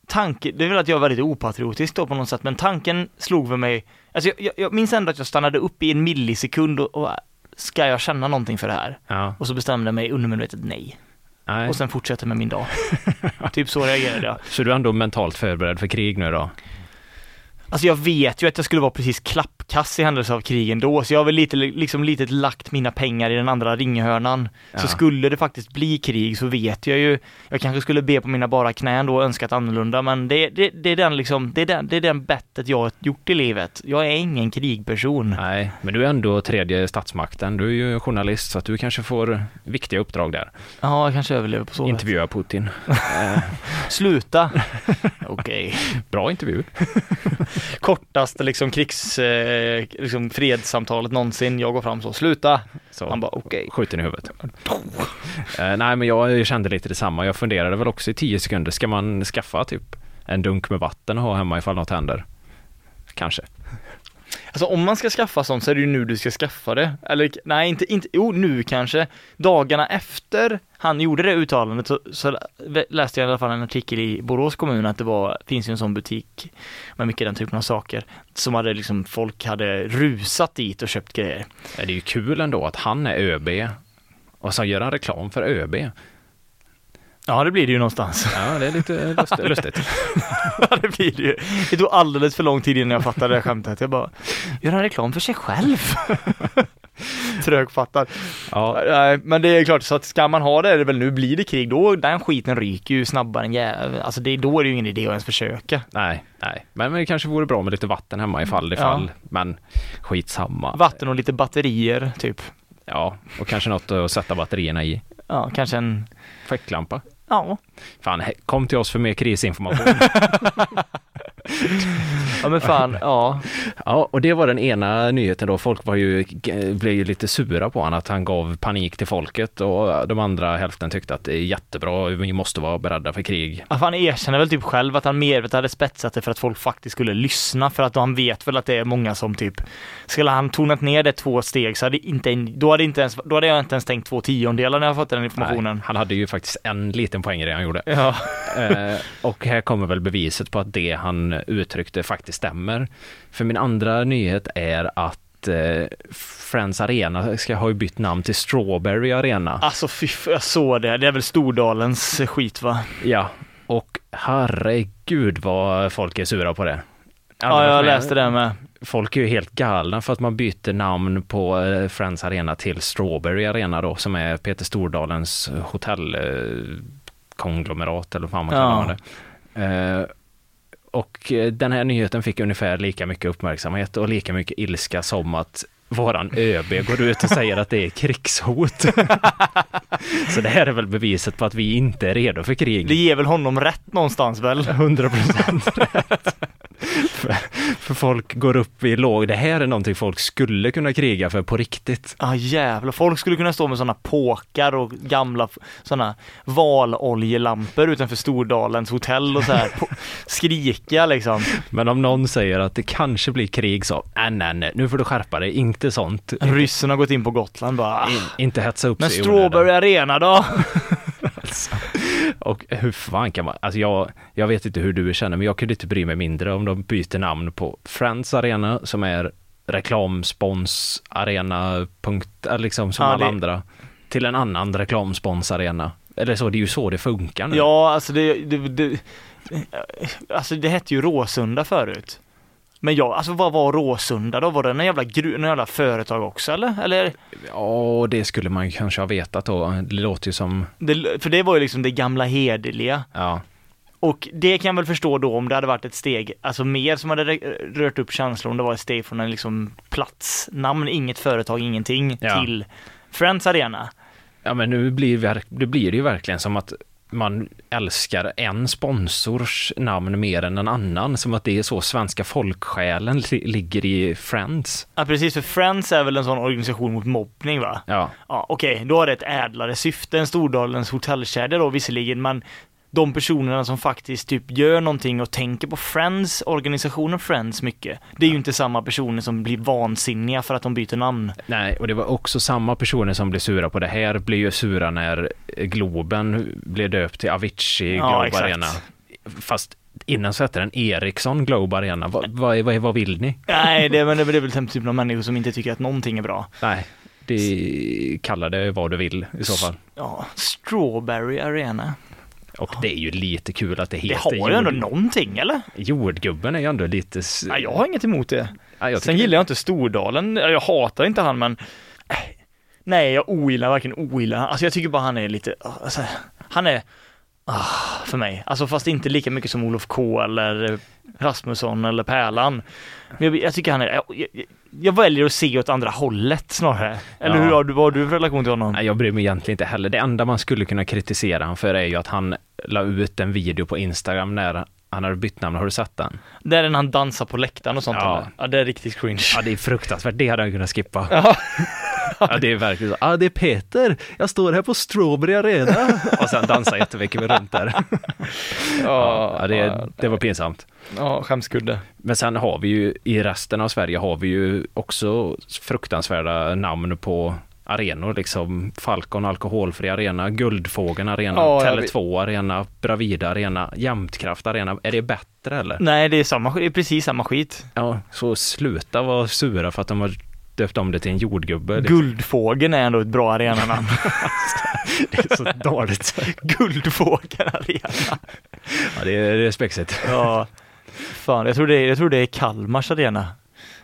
Speaker 3: Tanken, det är väl att jag var lite opatriotisk då på något sätt, men tanken slog för mig Alltså jag, jag, jag minns ändå att jag stannade upp i en millisekund och, och Ska jag känna någonting för det här?
Speaker 2: Ja,
Speaker 3: Och så bestämde jag mig undermedvetet nej
Speaker 2: nej.
Speaker 3: Och sen fortsatte med min dag Typ så reagerade jag
Speaker 2: Så du är ändå mentalt förberedd för krig nu då?
Speaker 3: Alltså jag vet ju att jag skulle vara precis klappkass i händelse av krig ändå, så jag har väl lite, liksom lite lagt mina pengar i den andra ringhörnan.
Speaker 2: Ja.
Speaker 3: Så skulle det faktiskt bli krig så vet jag ju, jag kanske skulle be på mina bara knän då och önskat annorlunda, men det, det, det är den liksom, det är den, det är den bettet jag har gjort i livet. Jag är ingen krigperson.
Speaker 2: Nej, men du är ändå tredje statsmakten. Du är ju journalist så att du kanske får viktiga uppdrag där.
Speaker 3: Ja, jag kanske överlever på så vis.
Speaker 2: Intervjua Putin.
Speaker 3: Sluta! Okej.
Speaker 2: Bra intervju.
Speaker 3: Kortaste liksom krigs, eh, liksom fredssamtalet någonsin, jag går fram så, sluta!
Speaker 2: Så.
Speaker 3: Han bara okej.
Speaker 2: skjuten i huvudet. Eh, nej, men jag kände lite detsamma. Jag funderade väl också i tio sekunder, ska man skaffa typ en dunk med vatten och ha hemma ifall något händer? Kanske.
Speaker 3: Alltså om man ska skaffa sånt så är det ju nu du ska skaffa det. Eller nej, inte, inte jo nu kanske. Dagarna efter han gjorde det uttalandet så, så läste jag i alla fall en artikel i Borås kommun att det var, finns ju en sån butik med mycket den typen av saker. Som hade liksom, folk hade rusat dit och köpt grejer.
Speaker 2: Eh, Det är ju kul ändå att han är ÖB och så gör han reklam för ÖB.
Speaker 3: Ja det blir det ju någonstans.
Speaker 2: Ja, det är lite lust- lustigt.
Speaker 3: Ja det blir det ju. Det tog alldeles för lång tid innan jag fattade det här skämtet. Jag bara, gör han reklam för sig själv? Trögfattad.
Speaker 2: Ja,
Speaker 3: Nej, men det är klart, så att ska man ha det är det väl nu, blir det krig, då den skiten ryker ju snabbare än jäv... Alltså det, då är det ju ingen idé att ens försöka.
Speaker 2: nej, nej. Men, men det kanske vore bra med lite vatten hemma ifall det
Speaker 3: Ja.
Speaker 2: fall. Men skitsamma.
Speaker 3: Vatten och lite batterier, typ.
Speaker 2: Ja, och kanske något att sätta batterierna i.
Speaker 3: Ja, kanske en...
Speaker 2: Fäcklampa.
Speaker 3: Ja.
Speaker 2: Fan, he- kom till oss för mer krisinformation.
Speaker 3: Ja men fan, ja.
Speaker 2: Ja, och det var den ena nyheten då. Folk var ju, g- blev ju lite sura på honom att han gav panik till folket och de andra hälften tyckte att det är jättebra, vi måste vara beredda för krig.
Speaker 3: Att han erkänner väl typ själv att han medvetet hade spetsat det för att folk faktiskt skulle lyssna, för att han vet väl att det är många som typ... Skulle han tonat ner det två steg så hade inte en, då, hade inte ens, då hade jag inte ens tänkt två tiondelar när jag fått den informationen.
Speaker 2: Nej, han hade ju faktiskt en liten poäng i det han gjorde.
Speaker 3: Ja.
Speaker 2: Eh, och här kommer väl beviset på att det han uttryckte faktiskt stämmer. För min andra nyhet är att eh, Friends Arena ska ha ju bytt namn till Strawberry Arena.
Speaker 3: Alltså fy f- jag såg det. Det är väl Stordalens skit va?
Speaker 2: Ja, och herregud vad folk är sura på det.
Speaker 3: Ja, jag
Speaker 2: Alla-
Speaker 3: läste det med.
Speaker 2: Folk är ju helt galna för att man byter namn på eh, Friends Arena till Strawberry Arena då, som är Peter Stordalens hotellkonglomerat eller vad fan man
Speaker 3: Ja.
Speaker 2: kallar det. Eh, Och eh, den här nyheten fick ungefär lika mycket uppmärksamhet och lika mycket ilska som att våran ÖB går ut och säger att det är krigshot. Så det här är väl beviset på att vi inte är redo för krig.
Speaker 3: Det ger väl honom rätt någonstans väl?
Speaker 2: 100 procent rätt. för, för folk går upp i låg, det här är någonting folk skulle kunna kriga för på riktigt.
Speaker 3: Ja ah, jävlar, folk skulle kunna stå med sådana påkar och gamla f- sådana valoljelampor utanför Stordalens hotell och så här på, skrika liksom.
Speaker 2: Men om någon säger att det kanske blir krig så, "Ah, nej nej nej, nu får du skärpa dig, inte sånt.
Speaker 3: Ryssen har gått in på Gotland bara. "Ah,
Speaker 2: In, inte hetsa upp
Speaker 3: Men
Speaker 2: sig i onödan."
Speaker 3: Strawberry Arena då?
Speaker 2: Och hur fan kan man, alltså jag, jag vet inte hur du känner, men jag kunde inte bry mig mindre om de byter namn på Friends Arena som är reklamspons arena, punkt, äh, liksom som
Speaker 3: Ja,
Speaker 2: alla
Speaker 3: det-
Speaker 2: andra, till en annan reklamspons arena. Eller så, det är ju så det funkar nu.
Speaker 3: Ja, alltså det, det, det, eh, alltså det hette ju Råsunda förut. Men ja, alltså vad var Råsunda då? Var det någon jävla, gru, någon jävla företag också eller? eller
Speaker 2: Ja, det skulle man ju kanske ha vetat då. Det låter ju som,
Speaker 3: det, för det var ju liksom det gamla hederliga.
Speaker 2: ja,
Speaker 3: Och det kan jag väl förstå då om det hade varit ett steg, alltså mer som hade re- rört upp känslor om det var ett steg från en liksom platsnamn, inget företag, ingenting,
Speaker 2: Ja.
Speaker 3: till Friends Arena.
Speaker 2: ja men nu blir, verk- det blir det ju verkligen som att man älskar en sponsors namn mer än en annan, som att det är så svenska folksjälen li- ligger i Friends.
Speaker 3: Ja precis, för Friends är väl en sån organisation mot mobbning va?
Speaker 2: Ja,
Speaker 3: Ja, okej, då har det ett ädlare syfte än Stordalens hotellkedja då visserligen, men de personerna som faktiskt typ gör någonting och tänker på Friends, organisationen Friends mycket, det är ju inte samma personer som blir vansinniga för att de byter namn.
Speaker 2: nej, och det var också samma personer som blev sura på det här, blev ju sura när Globen blev döpt till Avicii
Speaker 3: Ja,
Speaker 2: Globe
Speaker 3: exakt.
Speaker 2: Arena. Fast innan så hette den Ericsson Globe Arena. Vad, vad, vad, vad vill ni?
Speaker 3: Nej, det, men det, det är väl den typen av människor som inte tycker att någonting är bra.
Speaker 2: Nej, det, kalla det vad du vill i så fall.
Speaker 3: Ja, Strawberry Arena.
Speaker 2: Och det är ju lite kul att det
Speaker 3: Det
Speaker 2: heter
Speaker 3: har ju ändå någonting eller?
Speaker 2: Jordgubben är ju ändå lite... s-
Speaker 3: Nej, jag har inget emot det.
Speaker 2: Ja, jag
Speaker 3: Sen
Speaker 2: tycker-
Speaker 3: gillar jag inte Stordalen, jag hatar inte han men äh, Nej jag ogillar varken ogillar han, alltså jag tycker bara han är lite, ah, alltså, han är ah, för mig, alltså fast inte lika mycket som Olof K eller eh, Rasmusson eller Pärlan. Men jag, jag tycker han är, jag, jag, jag väljer att se åt andra hållet snarare. Eller
Speaker 2: Ja.
Speaker 3: hur har du, vad har du för relation till honom?
Speaker 2: Nej, jag bryr mig egentligen inte heller. Det enda man skulle kunna kritisera honom för är ju att han la ut en video på Instagram när han hade bytt namn. Har du sett den?
Speaker 3: Det är när han dansar på läktaren och sånt
Speaker 2: Ja.
Speaker 3: eller? ja det är riktigt cringe.
Speaker 2: Ja, det är fruktansvärt. Det hade han kunnat skippa. Ja. det är verkligen så. Ja, det är Peter. Jag står här på Strawberry Arena. Och sen dansar jättemycket runt där. Ja, det, det var pinsamt.
Speaker 3: ja skämskudde.
Speaker 2: Men sen har vi ju i resten av Sverige har vi ju också fruktansvärda namn på arenor liksom Falcon alkoholfri arena, Guldfågeln arena,
Speaker 3: Ja, jag vet.
Speaker 2: Tele2 arena, Bravida arena, Jämtkraft arena. Är det bättre eller?
Speaker 3: Nej det är samma, sk- det är precis samma skit.
Speaker 2: Ja, så sluta vara sura för att de har döpt om det till en jordgubbe. Det
Speaker 3: Guldfågeln är ändå ett bra arenanamn.
Speaker 2: är så dåligt.
Speaker 3: Guldfågeln arena.
Speaker 2: Ja, det är, det är spexigt.
Speaker 3: Ja. Fan, jag tror, det är, jag tror det är Kalmars arena.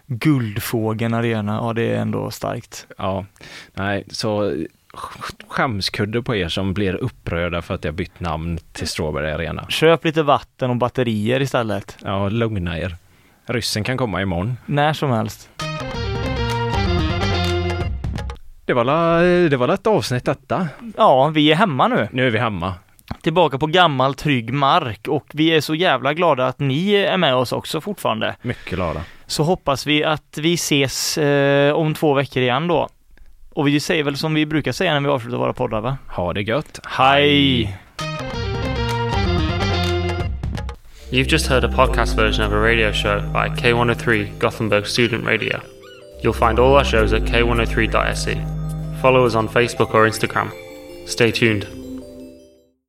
Speaker 3: Guldfågeln arena, ja det är ändå starkt.
Speaker 2: Ja, nej, så sk- skämskudde på er som blir upprörda för att jag bytt namn till Strawberry arena.
Speaker 3: Köp lite vatten och batterier istället.
Speaker 2: Ja, lugna er. Ryssen kan komma imorgon.
Speaker 3: När som helst.
Speaker 2: Det var, la, det var la ett avsnitt detta.
Speaker 3: Ja, vi är hemma nu.
Speaker 2: Nu är vi hemma.
Speaker 3: Tillbaka på gammal trygg mark och vi är så jävla glada att ni är med oss också fortfarande.
Speaker 2: Mycket glada.
Speaker 3: Så hoppas vi att vi ses eh, om två veckor igen då. Och vi säger väl som vi brukar säga när vi avslutar våra poddar va?
Speaker 2: Ha det gött.
Speaker 3: Hej!
Speaker 1: You've just heard a podcast version of a radio show by K103 Gothenburg Student Radio. You'll find oh E. all our shows at k103.se. Follow us on Facebook or Instagram. Stay tuned.